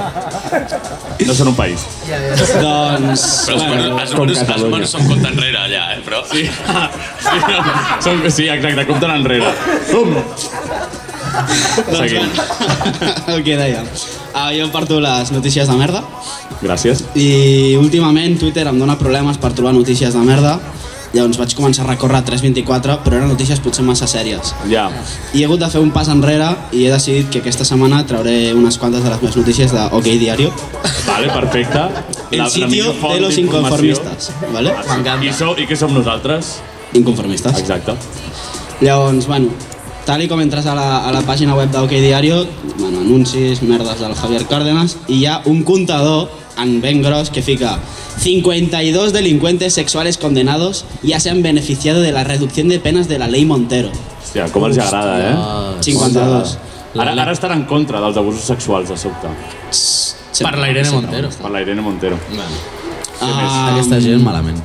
No són un país.
Doncs...
Però els números, els números, els números són compte enrere allà, eh, però... Sí,
Sí, no, són, sí exacte, compten enrere. Pum! Seguim.
doncs El que deia. Ah, jo porto les notícies de merda
Gràcies.
i últimament Twitter em dóna problemes per trobar notícies de merda. Llavors vaig començar a recórrer a 324, però eren notícies potser massa sèries.
Ja.
I he hagut de fer un pas enrere i he decidit que aquesta setmana trauré unes quantes de les meves notícies de OK Diario.
Vale, perfecte.
El
La- la
sitio
millor font
de los
d'informació.
inconformistas, ¿vale?
Ah, sí. I, sou, I què som nosaltres?
Inconformistes.
Exacte.
Llavors, bueno, tal i com entres a la, a la pàgina web d'OK Diario, bueno, anuncis, merdes del Javier Cárdenas, i hi ha un contador en ben gros que fica 52 delincuentes sexuales condenados ya se han beneficiado de la reducción de penas de la ley Montero.
Hòstia, com els agrada, eh?
52.
Ara, ara estan en contra dels abusos sexuals, de sobte.
Per la Irene Montero.
Per la Irene Montero.
Ah,
mm.
Aquesta gent malament.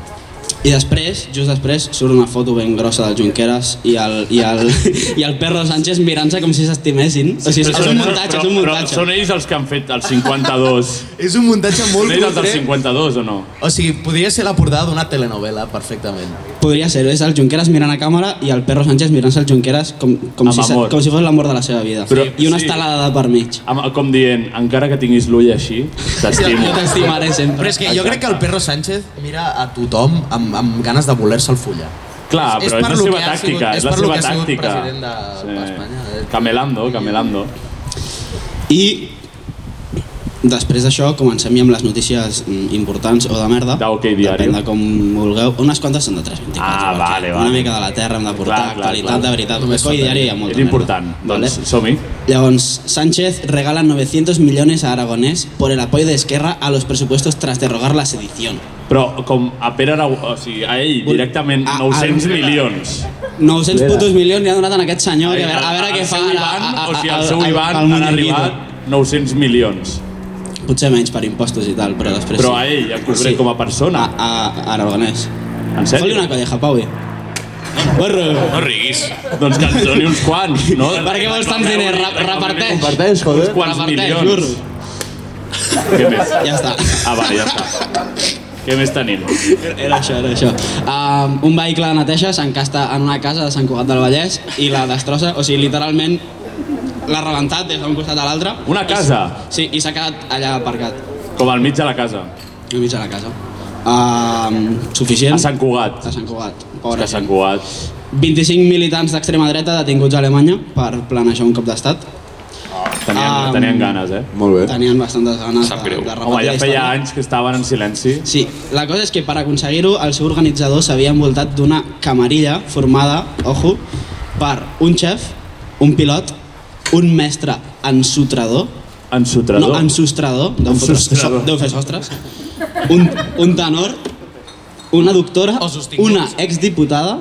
I després, just després, surt una foto ben grossa del Junqueras i el, i el, i el perro Sánchez mirant-se com si s'estimessin. O sigui, és un muntatge, és un muntatge.
Però són ells els que han fet el 52.
És un muntatge molt
Són ells els del
cutre.
52 o no?
O sigui, podria ser la portada d'una telenovela perfectament.
Podria ser, és el Junqueras mirant a càmera i el perro Sánchez mirant-se el Junqueras com, com,
Amb
si, se-
amor.
com si fos l'amor de la seva vida. Però, I una sí. estelada de per mig.
Amb, com dient, encara que tinguis l'ull així, t'estimo.
Jo t'estimaré sempre.
Però és que jo crec que el Perro Sánchez mira a tothom amb, amb ganes de voler-se'l follar.
Clar,
És- és
però és,
per
la
lo
seva
que ha
tàctica,
sigut-
és,
és
la
per lo
seva
que ha sigut
tàctica.
president
sí. Camelando, camelando.
I després d'això comencem ja amb les notícies mm, importants o de merda. De
OK Diario.
Depèn de com vulgueu. Unes quantes són de 324.
Ah, vale, vale.
Una mica de la terra hem de portar,
Clar, clar,
actualitat
clar.
de veritat.
Només
OK Diario
faltaria.
hi ha molta
És important.
merda.
Doncs som-hi.
Llavors, Sánchez regala 900 millones a Aragonés por el apoyo de Esquerra a los presupuestos tras derrogar la sedición.
Però com a Pere Aragó, o sigui, a ell directament
Ah,
900
al-
milions.
900
Vera.
putos milions li ha donat a aquest senyor, que a veure, a veure
El-
què
el
fa
seu
ara.
Ivan,
a- a-
o sigui, el
al-
seu
al-
Ivan
al
han
muñequito.
arribat 900 milions.
Potser menys per impostos i tal, però després
Però
sí.
a ell, en concret, com a persona.
A, a Aragonès.
En sèrio?
Foli una colleja, Paui.
No riguis.
Doncs que ens doni uns quants, no?
Per què vols tants diners? Re- reparteix.
Reparteix, joder. Uns quants
Reparteix,
milions. Què més?
Ja està.
Ah, vale, ja està. Què més tenim?
Era això, era això. Um, un vehicle de neteja s'encasta en una casa de Sant Cugat del Vallès i la destrossa, o sigui, literalment l'ha rebentat des d'un costat a l'altre.
Una casa?
Sí, i s'ha quedat allà aparcat.
Com al mig de la casa.
Al mig de la casa. Um, suficient?
A Sant Cugat.
A Sant Cugat.
És
Pobre
que s'han coat.
25 militants d'extrema dreta detinguts a Alemanya per planejar un cop d'estat.
Tenien,
Ah,
tenien ganes, eh? Molt
Tenien bastantes ganes
Sap
de,
greu.
de
Home,
repetir
ja
la
feia
història.
anys que estaven en silenci.
Sí, la cosa és que per aconseguir-ho el seu organitzador s'havia envoltat d'una camarilla formada, ojo, per un xef, un pilot, un mestre ensutrador,
Ensutrador?
no, ensostrador, deu, fotre,
Ensostrador.
so, deu fer sostres, un, un tenor, una doctora, una exdiputada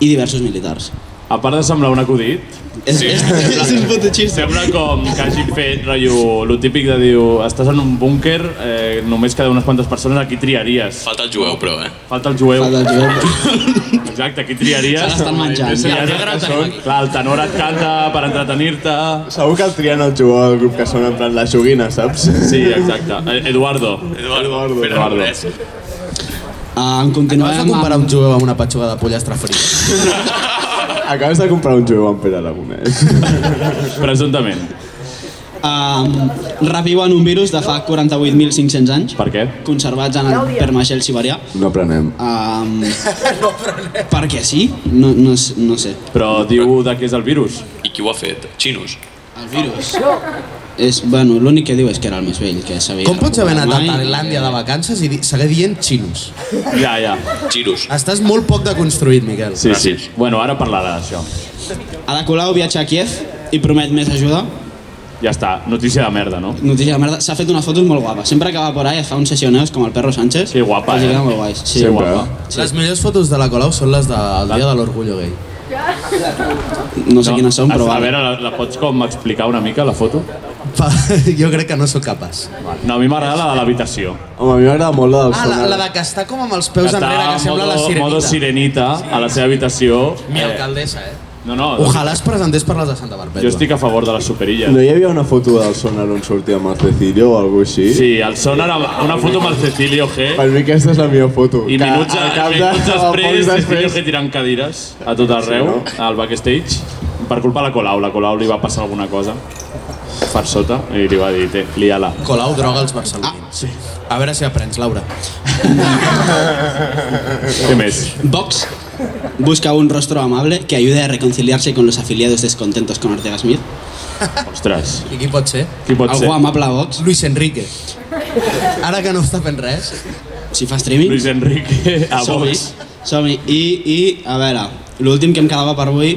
i diversos militars.
A part de semblar un acudit,
És- és- és un puto xiste.
Sembla com que hagin fet, rotllo, lo típic de dir, estàs en un búnker, eh, només queda unes quantes persones, aquí triaries.
Falta el jueu, però, eh?
Falta el jueu.
Falta el
jueu. Exacte, aquí triaries.
Se l'estan menjant.
Triaries
I el
que
negre el
són- Clar, el tenor et canta per entretenir-te.
Segur que el trien el jugador del grup que són en plan la joguina, saps?
Sí, exacte. Eh, Eduardo.
Eduardo. Pere
Eduardo.
Aragonès.
Ah, en
Acabes de comparar un jueu amb una patxuga de pollastre frit.
Acabes de comprar un jueu amb Pere Aragonès.
Presumptament.
Um, reviuen un virus de fa 48.500 anys.
Per què?
Conservats en el permagel siberià.
No aprenem.
Um, perquè sí? No, no, s- no sé.
Però diu de què és el virus.
I qui ho ha fet? Xinos.
El virus. És, bueno, l'únic que diu és que era el més vell, que sabia...
Com pots haver anat a Tailàndia de vacances i di- seguir dient xinos?
Ja, ja.
Xiros.
Estàs molt poc deconstruït, Miquel.
Sí, sí. Bueno, ara parlarà d'això.
Ada Colau viatja a Kiev i promet més ajuda.
Ja està, notícia de merda, no?
Notícia de merda, s'ha fet unes fotos molt guapes. Sempre que va por ahí es fa uns sessioneos com el perro Sánchez. Sí, guapa, que eh? molt guais. Sí,
Sempre.
guapa.
Les millors fotos de la Colau són les del Dia de l'Orgullo Gay.
No sé quines són, però
A
vale.
veure, la, la pots com explicar una mica, la foto?
jo crec que no sóc capaç.
No, a mi m'agrada la de l'habitació.
Home, a mi m'agrada molt la del
Ah, la, la de que està com amb els peus
Està
enrere, que sembla
modo,
la sirenita.
Modo sirenita, a la seva habitació.
Mi
Eh,
alcaldessa, eh?
No, no.
Ojalà es presentés per les de Santa Barbeta.
Jo estic a favor de les superilles.
No hi havia una foto del sonar on sortia amb el Cecilio o alguna així?
Sí, el sonar, amb- una foto amb el Cecilio G.
Per mi aquesta és la millor foto.
I minuts, a,
al cap de-
minuts
o
després,
pocs
Cecilio G tirant cadires a tot arreu, al backstage, per culpa de la Colau. La Colau li va passar alguna cosa per sota i li va dir, té, lia-la.
Colau droga els barcelonins. Ah, sí. A veure si aprens, Laura.
Què més?
Vox busca un rostro amable que ayude a reconciliarse con los afiliados descontentos con Ortega Smith.
Ostres.
I qui pot ser?
Qui pot
Algú
ser?
amable a Vox.
Luis Enrique. Ara que no està fent res.
Si fa streaming.
Luis Enrique a
Som-hi.
Vox.
Som-hi. I, I, a veure, l'últim que em quedava per avui,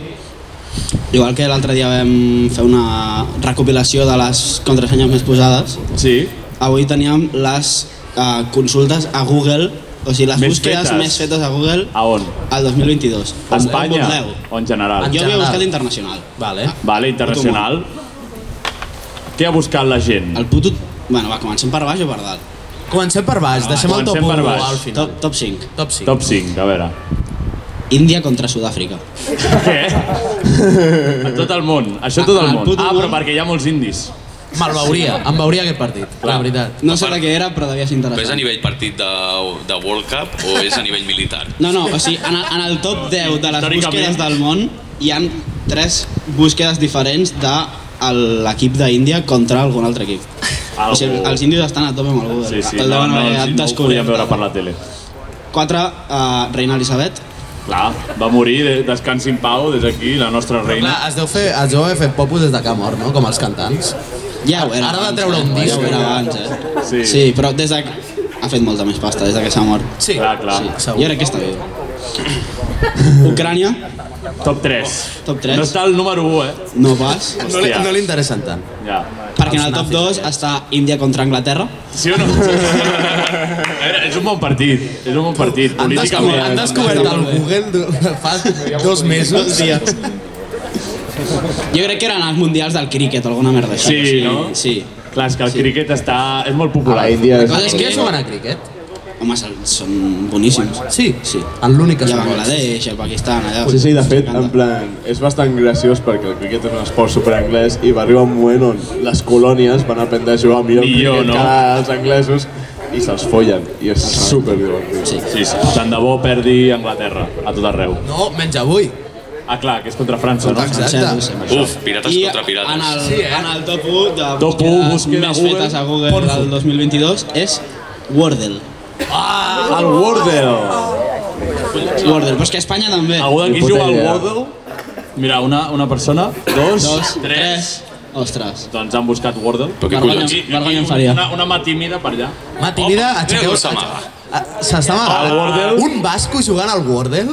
igual que l'altre dia vam fer una recopilació de les contrasenyes més posades,
sí.
avui teníem les uh, consultes a Google, o sigui, les
Més
búsquedes
fetes.
més fetes a Google
A on?
al
A
2022. On- on
Espanya
voleu?
o en general?
Jo havia buscat internacional. Ah,
Vale.
Vale, internacional. Què ha buscat la gent?
El puto... Bueno, va, comencem per baix o per dalt?
Comencem per baix,
Ah,
deixem el top
comencem per
1
baix.
al final.
Top, top 5.
Top 5.
Top 5, a veure.
Índia contra Sud-àfrica.
Què? A tot el món, això a tot el
Al
món.
puto
Ah,
món.
però perquè hi ha molts indis.
Me'l veuria, em veuria aquest partit, la veritat.
No sé de què era, però devia ser
Però és a
interessant.
nivell partit de, de World Cup o és a nivell militar?
No, no, o sigui, en el, en el top 10 de les
Històricament.
búsquedes del món hi han tres búsquedes diferents de el- l'equip d'Índia contra algun altre equip.
Ah, Algú.
O sigui, els indis estan a tope amb el Google.
Sí, sí,
el
no,
deuen
no,
haver
no, no ho
descobert.
podíem veure per la tele.
Quatre, eh, reina Elisabet.
Clar, va morir, de, descansi en pau, des d'aquí, la nostra
Clar,
reina.
Ah, es deu, fer, es deu haver fet popos des de que ha mort, no? Com els cantants.
Ja ho era
Ara ha de
abans,
treure un
eh?
disc.
Ja ho era abans, eh?
Sí.
sí, però des de... Ha fet molta més pasta des de que s'ha mort.
Sí.
Clar, clar.
Jo crec que està viu. Ucrània,
Top 3.
top 3.
No està el número 1, eh?
No pas.
No li, no li interessen tant.
Ja.
Perquè en el top 2 està Índia contra Anglaterra.
Sí o no? A veure, és un bon partit, és un bon partit,
Han descobert, han
políticament.
descobert el Google du- fa dos mesos.
Jo crec que eren els mundials del críquet, alguna merda així.
Sí, no?
Sí.
Clar, és que el criquet està... és molt popular.
A Índia és-
La cosa és
Què
que
juguen a criquet?
Home, se- són boníssims.
Sí,
Sí.
en l'únic que
I a
juguen.
Bangladesh, a Pakistan, allà...
Sí, sí, de fet, en plan, és bastant graciós perquè el criquet és un esport superanglès i va arribar un moment on les colònies van aprendre a jugar millor, al
Millor,
criquet
no?
que els anglesos i se'ls follen i és super divertit.
Sí.
Sí, sí. Tant de bo perdi Anglaterra, a tot arreu.
No, menys avui.
Ah, clar, que és contra França, no?
Exacte.
Uf, pirates
I
contra
en
pirates.
el,
Sí, eh?
en el top 1 de
Top u,
búsquedes
búsqueda
més
Google,
fetes a Google
Pornhub.
del 2022 és Wordle.
El Wordle!
Wordle, però és que a Espanya també.
Algú d'aquí
Ni puta
juga al
idea.
Wordle? Mira, una, una persona, dos,
Dos,
tres...
Ostres.
Doncs han buscat Wordle.
Però què
Vergonya,
collons?
vergonya em faria.
Una, una mà tímida per allà.
Ma, tímida,
Oh,
aixequeu...
mira com s'amaga.
Ah, S'està
Al
amagant.
Wordle.
Un basco jugant al Wordle?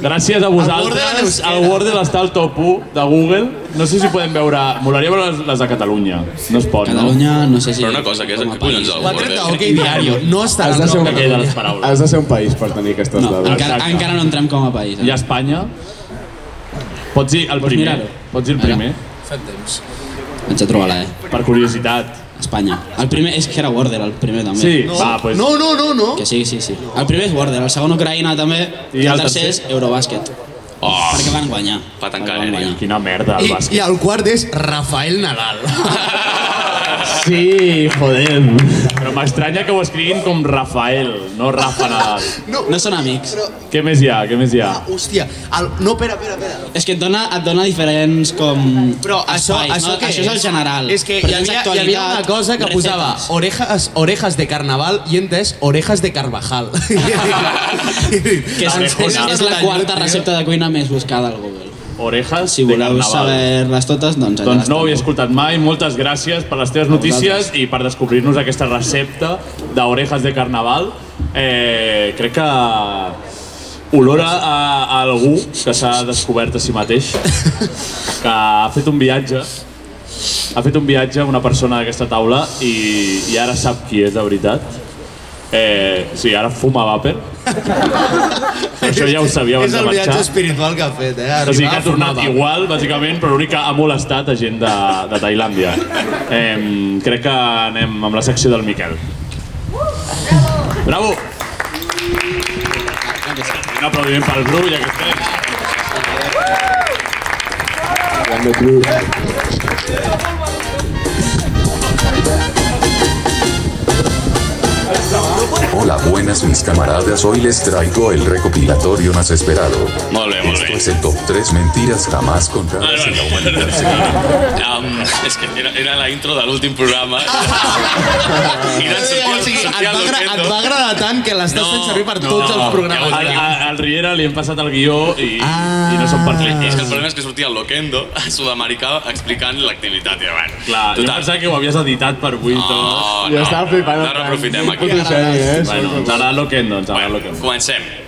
Gràcies a
Wordle en
vosaltres.
euskera.
El Wordle està al top 1 de Google. No sé si podem veure... Molaria veure les, les de Catalunya. No es pot,
Catalunya, no sé si...
Però una cosa, que és
com a
que collons
país.
el
Ho ha tret
Wordle?
de Hockey Diario, no estarà
Has de
en
ser un-
no? Aquella de
Catalunya.
les paraules.
Has de ser un país per tenir aquestes
No,
dades.
encara,
Exacte.
encara no entrem com a país.
I a
Eh?
Espanya? Pots dir el primer.
mirar-ho?
Pots dir el primer.
Fem temps.
Vaig a trobar-la, eh?
Per curiositat.
Espanya. El primer és que era Wordle, el primer també.
Sí, va, pues...
No, no, no, no.
Que sí, sí, sí. El primer és Wordle, el segon Ucraïna també, i el tercer és Eurobàsquet.
Oh,
Perquè van guanyar.
Va tancar
Perquè van
l'Eri.
guanyar.
Quina merda, el
I, I
bàsquet.
el quart és Rafael Nadal.
Sí, joder.
Però m'estranya que ho escriguin com Rafael, no Rafa Nadal.
No,
No són amics.
Què més hi ha? Què més hi ha?
hòstia. El, no, espera, espera, espera.
És que et dona, et dona diferents com...
Però això,
espais,
això,
no?
què
això és el general.
És que
Però
hi
tens
havia, hi
actualitat,
havia una cosa que
recetes.
posava orejas, orejas de carnaval i entes orejas de Carvajal. que
Que és, és, és la quarta recepta de cuina més buscada al Google.
orejas
Si
de
voleu
carnaval.
saber-les totes, doncs allà
Doncs no
estan.
ho havia escoltat mai. Moltes gràcies per les teves notícies i per descobrir-nos aquesta recepta d'orejas de carnaval. Eh, crec que olora a, a algú que s'ha descobert a si mateix, que ha fet un viatge ha fet un viatge una persona d'aquesta taula i, i ara sap qui és de veritat. Eh, sí, ara fuma vàper. Però això ja ho sabia abans
És
de
el
marxar.
viatge espiritual que ha fet, eh?
O sigui que
Arribar
ha
a formar
tornat
part.
igual, bàsicament, però l'únic que ha molestat a gent de, de Tailàndia. Eh, crec que anem amb la secció del Miquel. Bravo! Un aplaudiment pel Bru, ja que estem.
Grande Cruz.
Hola buenas mis camaradas, hoy les traigo el recopilatorio más esperado. Esto es el top 3 mentiras jamás contadas en la humanidad.
Um, és que era, era la intro de l'últim programa. I anant sortint-
O sigui, et
sortint
va, agra-
al Loquendo.
et va agradar tant que l'estàs fent servir per tots els programes.
Al, al, al Riera li hem passat el guió i, ah. i no són per
I
res.
és que el problema és que sortia el Loquendo, a Sud-americà, explicant l'activitat. I, bueno,
Clar, jo pensava que ho havies editat per avui. No,
no, Jo estava flipant. no reaprofitem aquí. Puto geni, eh?
Bueno, ens agrada Loquendo, ens agrada Loquendo.
Comencem.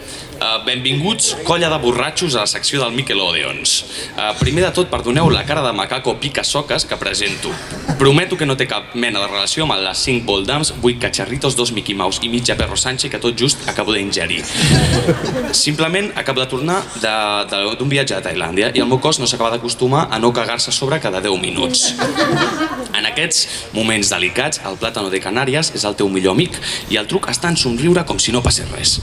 Uh, benvinguts, colla de borratxos, a la secció del Miquelodions. Uh, primer de tot, perdoneu la cara de macaco pica soques que presento. Prometo que no té cap mena de relació amb les 5 Voldams, 8 Cacharritos, 2 Mickey Mouse i mitja Perro Sánchez que tot just acabo d'ingerir. Simplement acabo de tornar de- de- d'un viatge a Tailàndia i el meu cos no s'acaba d'acostumar a no cagar-se a sobre cada 10 minuts. En aquests moments delicats, el plàtano de Canàries és el teu millor amic i el truc està en somriure com si no passés res.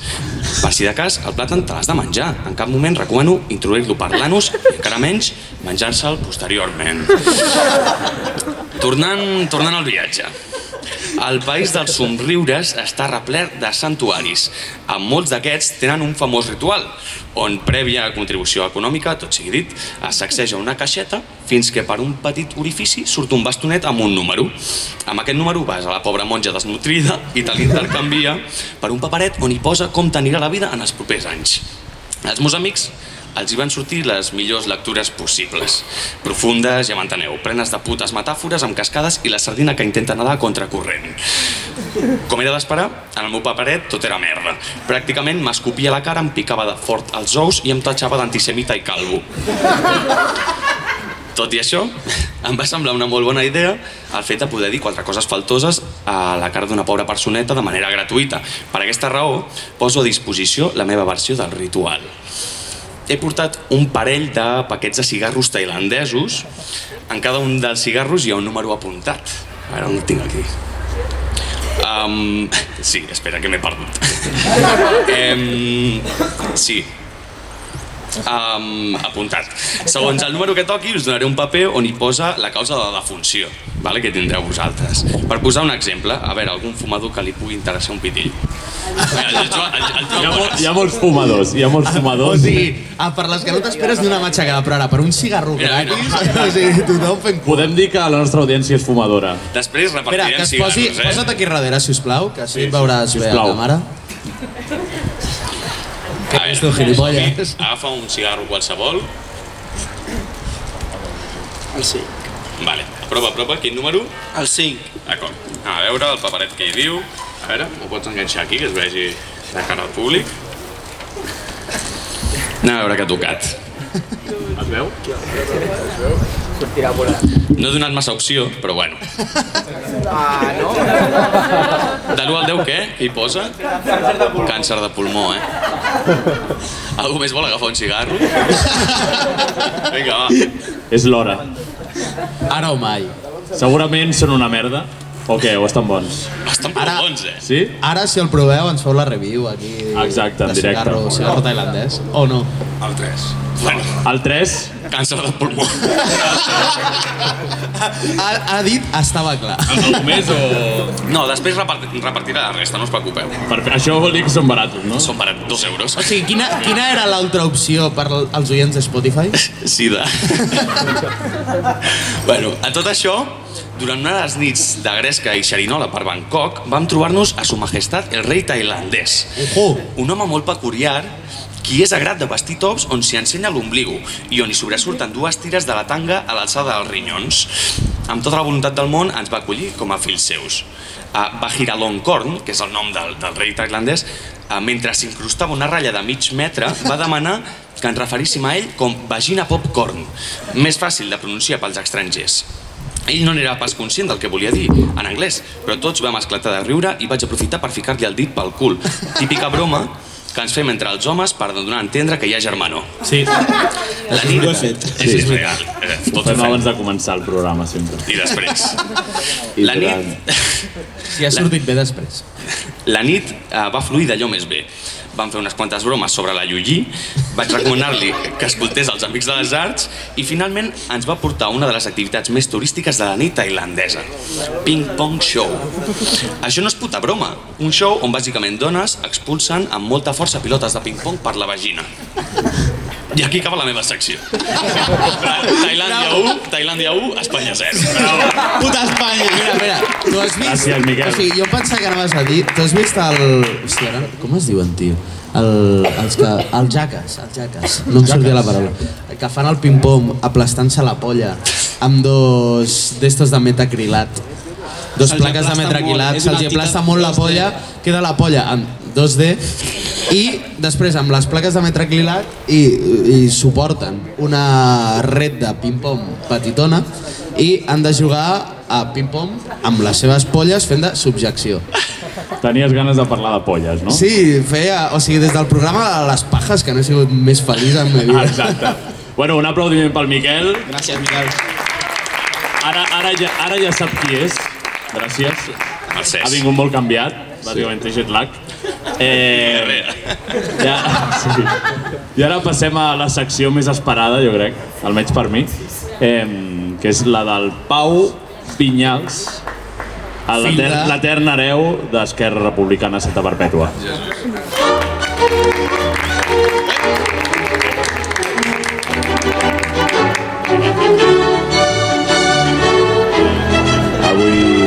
Per si de cas, el plàtan te l'has de menjar. En cap moment recomano introduir-lo per l'anus i encara menys menjar-se'l posteriorment. Tornant, tornant al viatge. El país dels somriures està replert de santuaris. En molts d'aquests tenen un famós ritual, on prèvia contribució econòmica, tot sigui dit, es sacseja una caixeta fins que per un petit orifici surt un bastonet amb un número. Amb aquest número vas a la pobra monja desnutrida i te l'intercanvia per un paperet on hi posa com t'anirà la vida en els propers anys. Els meus amics els hi van sortir les millors lectures possibles. Profundes, ja m'enteneu, plenes de putes metàfores amb cascades i la sardina que intenta nedar a contracorrent. Com era d'esperar, en el meu paperet tot era merda. Pràcticament m'escopia la cara, em picava de fort els ous i em tatxava d'antisemita i calvo. Tot i això, em va semblar una molt bona idea el fet de poder dir quatre coses faltoses a la cara d'una pobra personeta de manera gratuïta. Per aquesta raó, poso a disposició la meva versió del ritual. He portat un parell de paquets de cigarros tailandesos. En cada un dels cigarros hi ha un número apuntat. A veure, on el tinc aquí? Um, sí, espera, que m'he perdut. um, sí, Um, apuntat. Segons el número que toqui, us donaré un paper on hi posa la causa de la defunció, vale? que tindreu vosaltres. Per posar un exemple, a veure, algun fumador que li pugui interessar un pitill.
Hi ha, mol, hi ha molts fumadors, hi ha molts
O
fumadors.
sigui, ah, per les que no t'esperes d'una matxacada, però ara, per un cigarro gratis... O sigui, tothom fent...
Podem dir que la nostra audiència és fumadora.
Després
Espera, que es posi...
cigarros, eh?
Posa't aquí darrere, sisplau, que així et veuràs bé a la
sisplau.
càmera.
Que és
tu, gilipolles.
Agafa un cigarro qualsevol.
El 5.
Vale, prova, prova, quin número? El 5. D'acord. A veure, el paperet que hi diu. A veure, ho pots enganxar aquí, que es vegi la cara al públic. Anem a veure què ha tocat. Es veu?
Sortirà volant.
No he donat massa opció, però bueno.
Ah, no?
De l'1 al 10 què? Què hi posa? Càncer de pulmó, eh? Algú més vol agafar un cigarro? Vinga, va.
És l'hora.
Ara o mai.
Segurament són una merda. O què, o estan bons?
Estan molt bons, eh?
Sí?
Ara, si el proveu, ens feu la review aquí.
Exacte, en
de
directe.
Cigarro, cigarro tailandès. O no?
El 3. Bueno.
El 3?
Càncer de pulmó.
Ha, ha dit, estava clar.
Algú més o...? No, després reparti- repartirà la resta, no us preocupeu.
Per, això vol dir que són baratos, no?
Són baratos, dos euros.
O sigui, quina, quina era l'altra opció per als oients de Spotify?
Sida. Bueno, a tot això, durant una de les nits de gresca i xerinola per Bangkok, vam trobar-nos a su majestat el rei tailandès.
Ojo!
Un home molt peculiar
qui és agrat de vestir tops on s'hi ensenya l'ombligo i on hi sobresurten dues tires de la tanga a l'alçada dels rinyons. Amb tota la voluntat del món ens va acollir com a fills seus. Ah, A Bajiralongkorn, que és el nom del, del rei tailandès, eh, mentre s'incrustava una ratlla de mig metre, va demanar que ens referíssim a ell com vagina popcorn, més fàcil de pronunciar pels estrangers. Ell no n'era pas conscient del que volia dir, en anglès, però tots vam esclatar de riure i vaig aprofitar per ficar-li el dit pel cul. Típica broma que ens fem entre els homes per donar a entendre que hi ha germano.
Sí.
La nit
Ho he fet.
és sí. real. Eh,
Ho
Tot ho
fem
fem.
abans de començar el programa, sempre.
I després. La nit... Si
ha sortit
bé després. La nit eh, va fluir d'allò més bé. Vam fer unes quantes bromes sobre la Yuyi, vaig recomanar-li que escoltés els Amics de les Arts i finalment ens va portar a una de les activitats més turístiques de la nit tailandesa, Ping Pong Show. Això no és puta broma, un show on bàsicament dones expulsen amb molta força pilotes de ping-pong per la vagina. I aquí acaba la meva secció. Tailàndia 1, Tailàndia 1, Espanya 0. Bravo.
Puta Espanya! Mira, mira, tu has vist...
Gràcies, Miquel.
O sigui, jo em pensava que anaves a dir... Tu has vist el... Hòstia, ara, com es diuen, tio? El, els que, el jaques, els jaques, no em sortia la paraula, que fan el ping-pong aplastant-se la polla amb dos d'estos de metacrilat. Dos
Se'ls
plaques
aplasta
de
molt,
metacrilat,
és una
se'ls hi aplasta
entitat
molt la
2D.
polla, queda la polla en 2D i després amb les plaques de metacrilat i, i suporten una red de ping-pong petitona i han de jugar a ping-pong amb les seves polles fent de subjecció.
Oh. Tenies ganes de parlar de polles, no?
Sí, feia, o sigui, des del programa de les pajes que no he sigut més feliç en la vida.
Exacte. Bueno, un aplaudiment pel Miquel.
Gràcies, Miquel.
Ara, ara, ja, ara ja sap qui és. Gràcies.
Mercès.
Ha vingut molt canviat, bàsicament té jet lag. Eh, ja, sí. I ara passem a la secció més esperada, jo crec, almenys per mi, eh, que és la del Pau Vinyals, el
Fill de-
etern- l'etern hereu d'Esquerra Republicana Santa Perpètua.
Avui...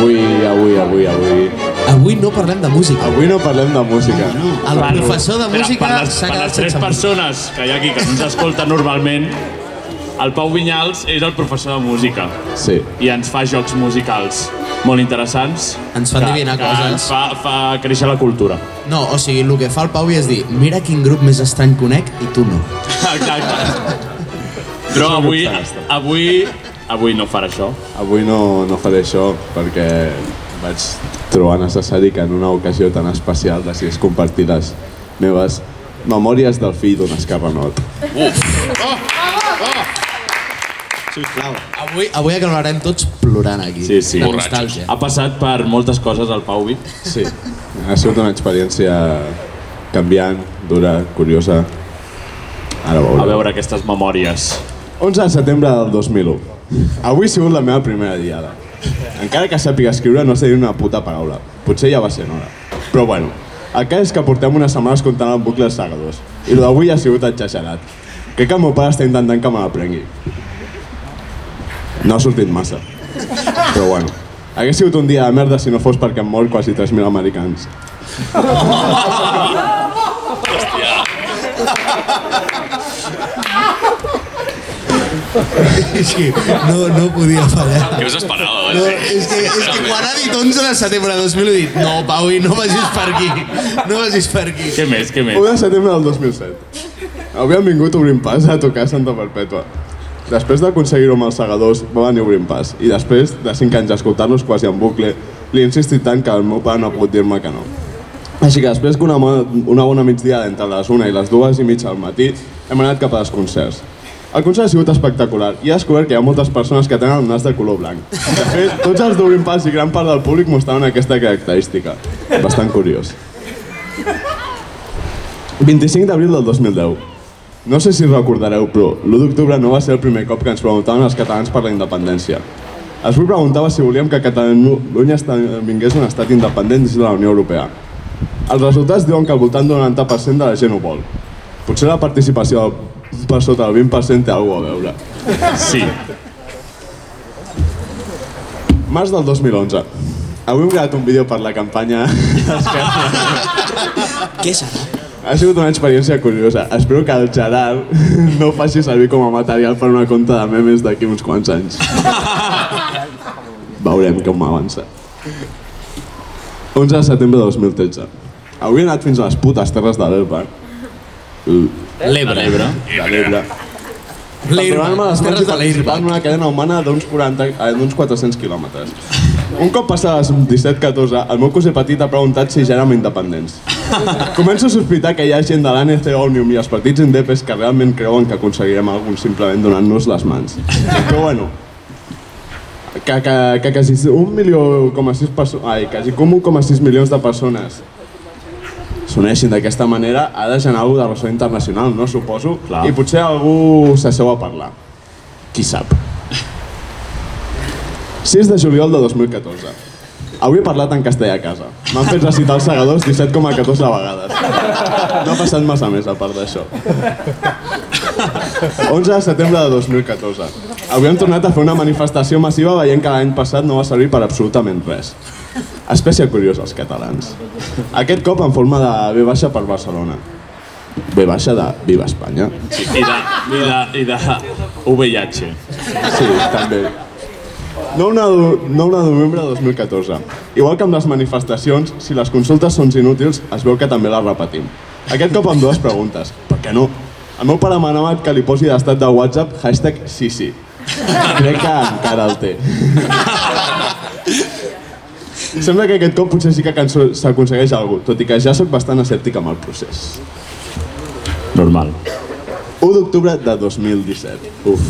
Avui, avui, avui, avui...
Avui no parlem de música.
Avui no parlem de música.
El professor de música
per les,
s'ha
per
quedat
les tres
sense
persones que hi ha aquí que no ens escolten normalment, el Pau Vinyals és el professor de música
Sí.
i ens fa jocs musicals molt interessants.
Ens fa
que-
endevinar
que
coses.
Ens fa, fa créixer la cultura.
No, o sigui, el que fa el Pau és dir mira quin grup més estrany conec i tu no.
Exacte. Però avui, avui, avui no farà això.
Avui no, no faré això perquè vaig trobar necessari que en una ocasió tan especial decidís compartir les meves memòries del fill d'un escapanot.
Sisplau. Avui, avui acabarem tots plorant aquí.
Sí, sí.
De nostàlgia.
Ha passat per moltes coses el Pau Vic.
Sí. Ha sigut una experiència canviant, dura, curiosa. Ara veurem.
A veure aquestes memòries.
11 de setembre del 2001. Avui ha sigut la meva primera diada. Encara que sàpiga escriure no sé dir una puta paraula. Potser ja va ser hora. Però bueno, el cas és que portem unes setmanes comptant el bucle de Saga 2 i el d'avui ha sigut exagerat. Crec que el meu pare està intentant que me l'aprengui. No ha sortit massa. Però bueno, hagués sigut un dia de merda si no fos perquè han mort quasi 3.000 americans.
Ah, Sí, no, no podia fallar.
Què us esperava? eh?
No, és que, és que quan ha dit 11 de setembre de 2000 he dit no, Pau, i no vagis per aquí. No vagis per aquí.
Què més, què
1 de setembre del 2007. Havien vingut obrint pas a tocar Santa Perpètua. Després d'aconseguir-ho amb els segadors, va venir obrint pas. I després de 5 anys d'escoltar-los quasi en bucle, li he insistit tant que el meu pare no ha pogut dir-me que no. Així que després que una, mo- una bona migdiada entre les 1 i les 2 i mitja del matí, hem anat cap als concerts. El concert ha sigut espectacular i he descobert que hi ha moltes persones que tenen el nas de color blanc. De fet, tots els d'Obrim Pas i gran part del públic mostraven aquesta característica. Bastant curiós. 25 d'abril del 2010. No sé si recordareu, però l'1 d'octubre no va ser el primer cop que ens preguntaven els catalans per la independència. Es vull preguntava si volíem que Catalunya esdevingués un estat independent dins de la Unió Europea. Els resultats diuen que al voltant d'un 90% de la gent ho vol. Potser la participació del- per sota del 20% té alguna a veure.
Sí.
Març del 2011. Avui hem gravat un vídeo per la campanya
Què serà?
Ha sigut una experiència curiosa. Espero que el Gerard no ho faci servir com a material per una conta de memes d'aquí uns quants anys. Veurem com avança. 11 de setembre de 2013. Avui he anat fins a les putes terres de l'Elba.
L'Ebre.
L'Ebre. De l'Ebre. L'Irma, les terres de l'Irma. una cadena humana d'uns 40 eh, d'uns 400 quilòmetres. Un cop passades les 17-14, el meu cosí petit ha preguntat si ja érem independents. Començo a sospitar que hi ha gent de l'ANC Òmnium i els partits indepes que realment creuen que aconseguirem algun simplement donant-nos les mans. Però bueno, que, que, que quasi un milió com a sis persones, ai, quasi com 1,6 milions de persones s'uneixin d'aquesta manera ha de generar alguna de ressò internacional, no? Suposo.
Clar.
I potser algú s'asseu a parlar. Qui sap. 6 de juliol de 2014. Avui he parlat en castellà a casa. M'han fet recitar els segadors 17,14 vegades. No ha passat massa més a part d'això. 11 de setembre de 2014. Avui hem tornat a fer una manifestació massiva veient que l'any passat no va servir per absolutament res. Espècie curiosa, els catalans. Aquest cop en forma de B baixa per Barcelona. B baixa de Viva Espanya.
I de, i de, i de VIH.
Sí, també. 9 de, 9 de novembre de 2014. Igual que amb les manifestacions, si les consultes són inútils, es veu que també les repetim. Aquest cop amb dues preguntes. Per què no? El meu pare m'ha demanat que li posi d'estat de WhatsApp hashtag sí sí. Crec que encara el té. Sembla que aquest cop potser sí que canso- s'aconsegueix alguna cosa, tot i que ja sóc bastant escèptic amb el procés.
Normal.
1 d'octubre de 2017. Uf.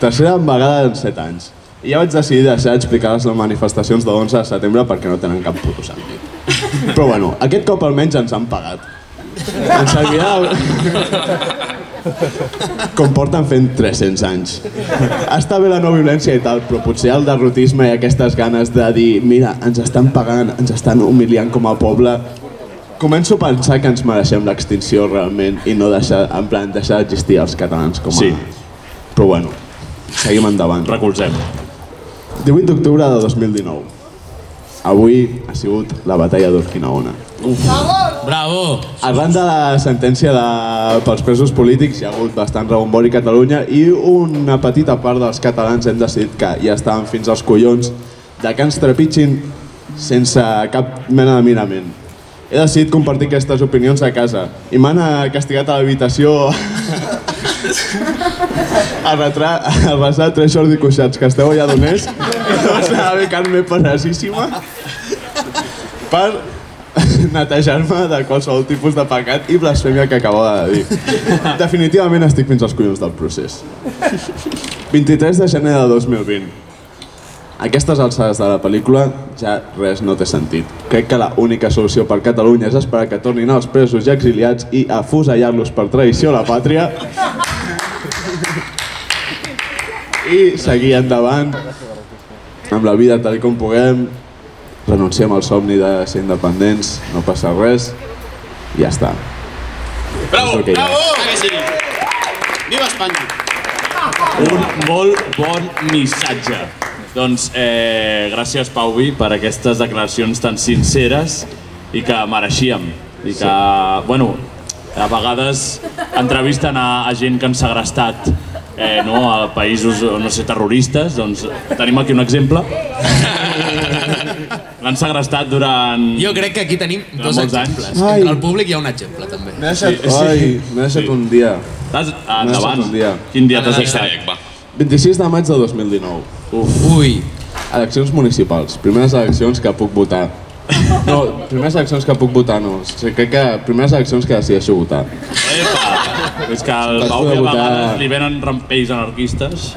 Tercera vegada en 7 anys. I ja vaig decidir deixar d'explicar les manifestacions de l'11 de setembre perquè no tenen cap puto sentit. Però bueno, aquest cop almenys ens han pagat. Ens servirà... Com porten fent 300 anys. Està bé la no violència i tal, però potser el derrotisme i aquestes ganes de dir mira, ens estan pagant, ens estan humiliant com a poble, Començo a pensar que ens mereixem l'extinció realment i no deixar, en plan, deixar d'existir els catalans com a... Sí. Però bueno, seguim endavant.
Recolzem.
18 d'octubre de 2019. Avui ha sigut la batalla d'Urquinaona.
Bravo!
Arran de la sentència de, pels presos polítics hi ha hagut bastant rebombori a Catalunya i una petita part dels catalans hem decidit que ja estaven fins als collons de que ens trepitgin sense cap mena de mirament. He decidit compartir aquestes opinions a casa i m'han eh, castigat a l'habitació a, retra, a basar tres Jordi Cuixats que esteu allà d'on és i dos de la Carme Penesíssima per netejar-me de qualsevol tipus de pecat i blasfèmia que acabo de dir. Definitivament estic fins als collons del procés. 23 de gener de 2020. A aquestes alçades de la pel·lícula ja res no té sentit. Crec que la única solució per Catalunya és esperar que tornin els presos i exiliats i afusellar-los per traïció a la pàtria i seguir endavant amb la vida tal com puguem, renunciem al somni de ser independents, no passa res, i ja està. Bravo,
Bravo! Ah, que sí. Viva Espanya!
Un molt bon missatge. Doncs eh, gràcies, Pauvi, per aquestes declaracions tan sinceres i que mereixíem. I que, bueno, a vegades entrevisten a, a gent que han segrestat eh, no, a països, no sé, terroristes, doncs tenim aquí un exemple. L'han segrestat durant...
Jo crec que aquí tenim
Durant
dos
molts
exemples.
anys.
Entre
Ai.
el públic hi ha un exemple, també.
M'he deixat, sí, sí. ai, m'he deixat sí. un dia.
T'has... Ah,
M'he deixat
endavant.
un dia. Ah,
Quin dia t'has deixat?
26 de maig de 2019.
Uf.
Ui.
Eleccions municipals. Primeres eleccions que puc votar. No, primeres eleccions que puc votar no. O sigui, crec que primeres eleccions que decideixo votar.
És que al
Vaig
Pau
poder
que a
votar-
vegades li venen rampells anarquistes.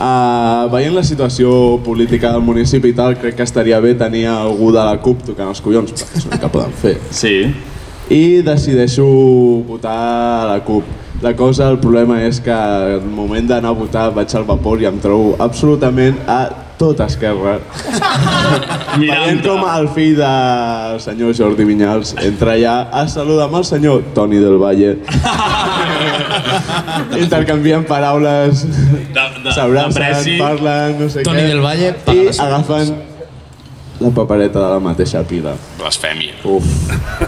Uh, veient la situació política del municipi i tal, crec que estaria bé tenir algú de la CUP tocant els collons, perquè és el que poden fer.
Sí.
I decideixo votar a la CUP. La cosa, el problema és que al moment d'anar a votar vaig al vapor i em trobo absolutament a tota esquerra. Veient com el fill del senyor Jordi Vinyals entra allà a saludar amb el senyor Toni del Valle. Intercanvien paraules,
de-
s'abracen,
d'apreci.
parlen, no sé
Toni
què.
del Valle
i agafen la papereta de la mateixa pila.
Blasfèmia.
Uf.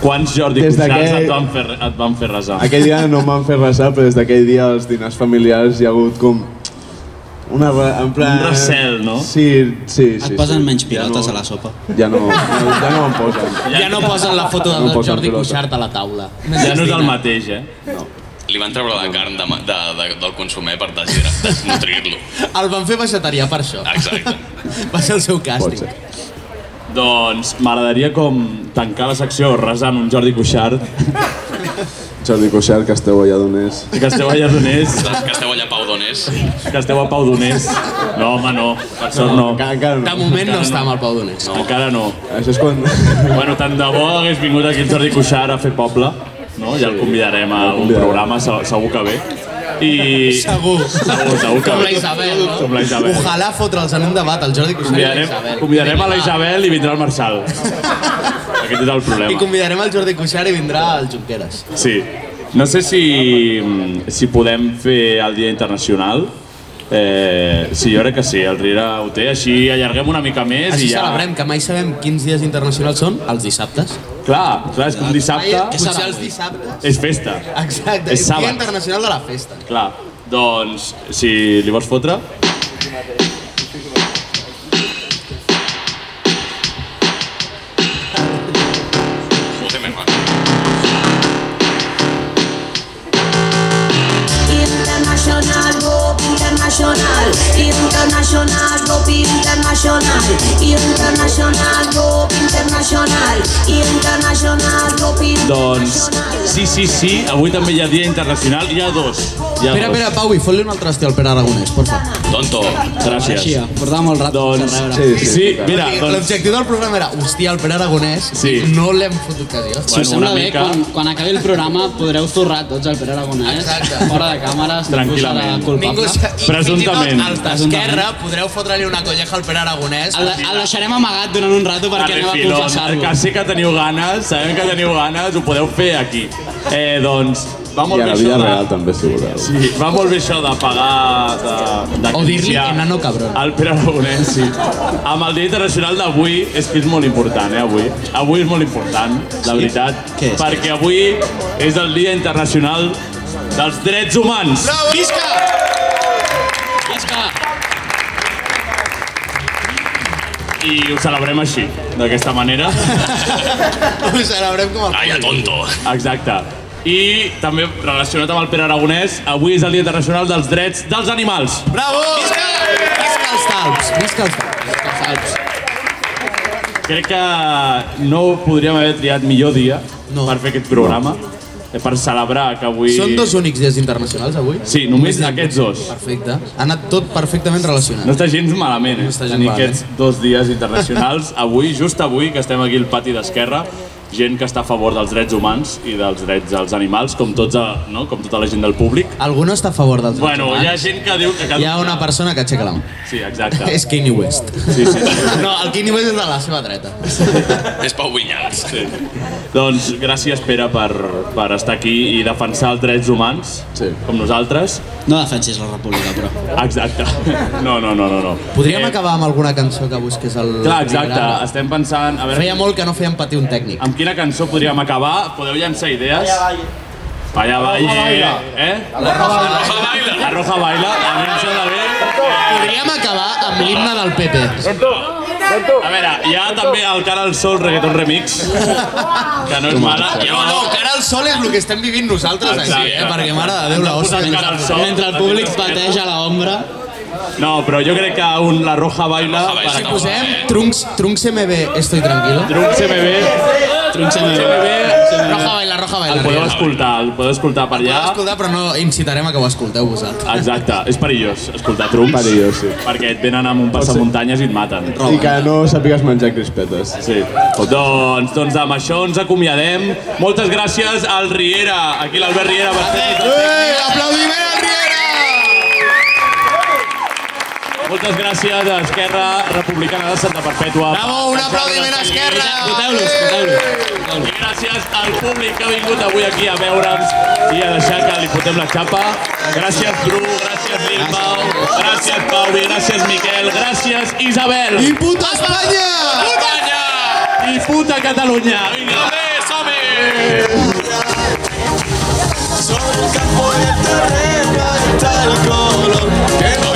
Quants Jordi
Des
Cuixart
d'aquell-
et, van fer, et van fer resar?
Aquell dia no em van fer resar, però des d'aquell dia als dinars familiars hi ha hagut com... Una, re- en plan...
Un recel, no?
Sí, sí, sí.
Et posen
sí.
menys pilotes a la sopa.
Ja no, no, ja no em posen.
Ja no posen la foto
No
del
posen
Jordi
pilota.
Cuixart a la taula.
Ja no és el mateix, eh?
Li van treure la carn de, ma- de, de, del consumer per desgra- desnutrir-lo.
El van fer vegetarià per això.
Exacte.
Va ser el seu càstig.
Doncs m'agradaria com tancar la secció resant un Jordi Cuixart
Jordi Cuixart, que esteu allà d'on és.
que esteu allà donés.
Que esteu allà, Pau Donés.
Que esteu a Pau Donés. No, home, no. Per sort no.
Encara, encara no.
De moment no està amb el Pau Donés.
No. Encara no.
Això és quan...
Bueno, tant de bo hagués vingut aquí el Jordi Cuixart a fer poble. No? Ja el convidarem a un programa, se- segur que bé. I...
Segur.
Segur, segur que
Com la
bé.
Isabel, no?
Com la Isabel.
Ojalà fotre'ls en un debat el Jordi Cuixart i la
Convidarem,
Isabel.
convidarem a la Isabel i vindrà el Marçal. Aquest és el
I
problema.
convidarem el Jordi Cuixart i vindrà el Junqueras.
Sí. No sé si, si podem fer el Dia Internacional. Eh, sí, jo crec que sí, el Riera ho té. Així allarguem una mica més i
Així
ja...
celebrem, que mai sabem quins dies internacionals són, els dissabtes.
Clar, clar, és que un dissabte...
Potser els dissabtes.
És festa.
Exacte,
És
és
sàbat.
Dia Internacional de la Festa.
Clar, doncs, si li vols fotre...
Molt bé, home.
International, Bob International, International, Bob International, International, Bob International, International, Bob
Doncs, sí, sí, sí, avui també hi ha Dia Internacional, hi ha dos. Hi ha
Espera,
dos.
espera, Pau, i fot-li un altre hòstia al Pere Aragonès, por favor.
Tonto.
Gràcies.
Així, portàvem el rato
Doncs, sí, sí, sí, mira, doncs-
L'objectiu del programa era, hòstia, el Pere Aragonès,
Sí.
no li hem fotut ocasió.
Si us sembla bé, quan, quan acabi el programa podreu zurrar tots al Pere Aragonès,
Exacte.
fora de càmeres, ningú serà
Tranquil·lament. Ningú
culpable.
sa- i fins i tot Els d'esquerra podreu fotre-li una colleja al Pere Aragonès.
El, el deixarem amagat durant un rato perquè anem a
el
confessar-lo.
doncs, que sí que teniu ganes, sabem que teniu ganes, ho podeu fer aquí. Eh, doncs, va
I
molt
a
bé
la
això
vida
de...
real també, si voleu.
Sí, va molt bé això de pagar... De, de
O dir-li
criticar
enano cabrón.
El Pere Aragonès, sí. Amb el Dia Internacional d'avui, és que és molt important, eh, avui. Avui és molt important, la veritat.
Què és?
Perquè avui és el Dia Internacional dels Drets Humans.
Visca!
Visca!
I ho celebrem així, d'aquesta manera.
Ho celebrem com el...
Ai, tonto. Exacte. I també relacionat amb el Pere Aragonès, avui és el Dia Internacional dels Drets dels Animals.
Bravo! Visca! Visca els talps! Visca els talps! Visca els talps!
Crec que no podríem haver triat millor dia per fer aquest programa, eh, per celebrar que avui...
Són dos únics dies internacionals avui?
Sí, només aquests dos.
Perfecte. Ha anat tot perfectament relacionat.
No està gens malament, eh?
No està gens
Tenir
malament.
aquests dos dies internacionals. Avui, just avui, que estem aquí al pati d'Esquerra, gent que està a favor dels drets humans i dels drets dels animals, com, tots, eh, no? com tota la gent del públic.
Algú no està a favor dels drets
Bueno, hi ha
humans?
gent que diu que... Cal...
Hi ha una persona que aixeca la mà.
Sí, exacte.
És Kanye West.
Sí, sí.
No, el Kanye West és de la seva dreta.
És Pau Vinyals. Sí.
Doncs gràcies, Pere, per, per estar aquí i defensar els drets humans, sí. com nosaltres.
No defensis la república, però.
Exacte. No, no, no, no. no.
Podríem acabar amb alguna cançó que busqués el...
Eh. Clar, exacte.
programa?
Estem pensant... A veure,
Feia molt que no feien patir un tècnic.
Amb quina cançó podríem acabar? Podeu llançar idees? Vaya Valle,
Baila.
eh? La Roja Baila. La Roja Baila, a mi em sembla bé.
Podríem acabar amb l'himne del PP.
A veure, hi ha també el Cara al Sol Reggaeton Remix, que no és mala.
No, no, cara al sol és el que estem vivint nosaltres aquí, eh? Perquè, mare de Déu, la hòstia.
Mentre, mentre el públic pateix a l'ombra,
No, però jo crec que un La Roja Baila... per
Si
acabar.
posem Trunks, Trunks MB, estoy tranquilo.
Trunks MB. Trunks MB.
Roja baila, roja baila.
El podeu escoltar, el podeu escoltar per
Podeu
allà.
escoltar, però no incitarem a que ho escolteu vosaltres.
Exacte, és perillós escoltar Trunks.
Perillós, sí.
Perquè et venen amb un passamuntanyes i et maten.
I que no sàpigues menjar crispetes.
Sí. Doncs, doncs amb això ens acomiadem. Moltes gràcies al Riera, aquí l'Albert Riera va ser...
Eh, aplaudiment al Riera!
Moltes gràcies a Esquerra Republicana de Santa Perpètua.
Bravo, un aplaudiment a Esquerra!
Voteu-los, voteu-los. I gràcies al públic que ha vingut avui aquí a veure'ns i a deixar que li fotem la xapa. Gràcies, Bru, gràcies, Bilbao, gràcies, Pauvi, gràcies, Miquel, gràcies, Isabel.
I puta Espanya!
Espanya! I puta Catalunya! Vinga!
Soy campo de terreno de tal color que no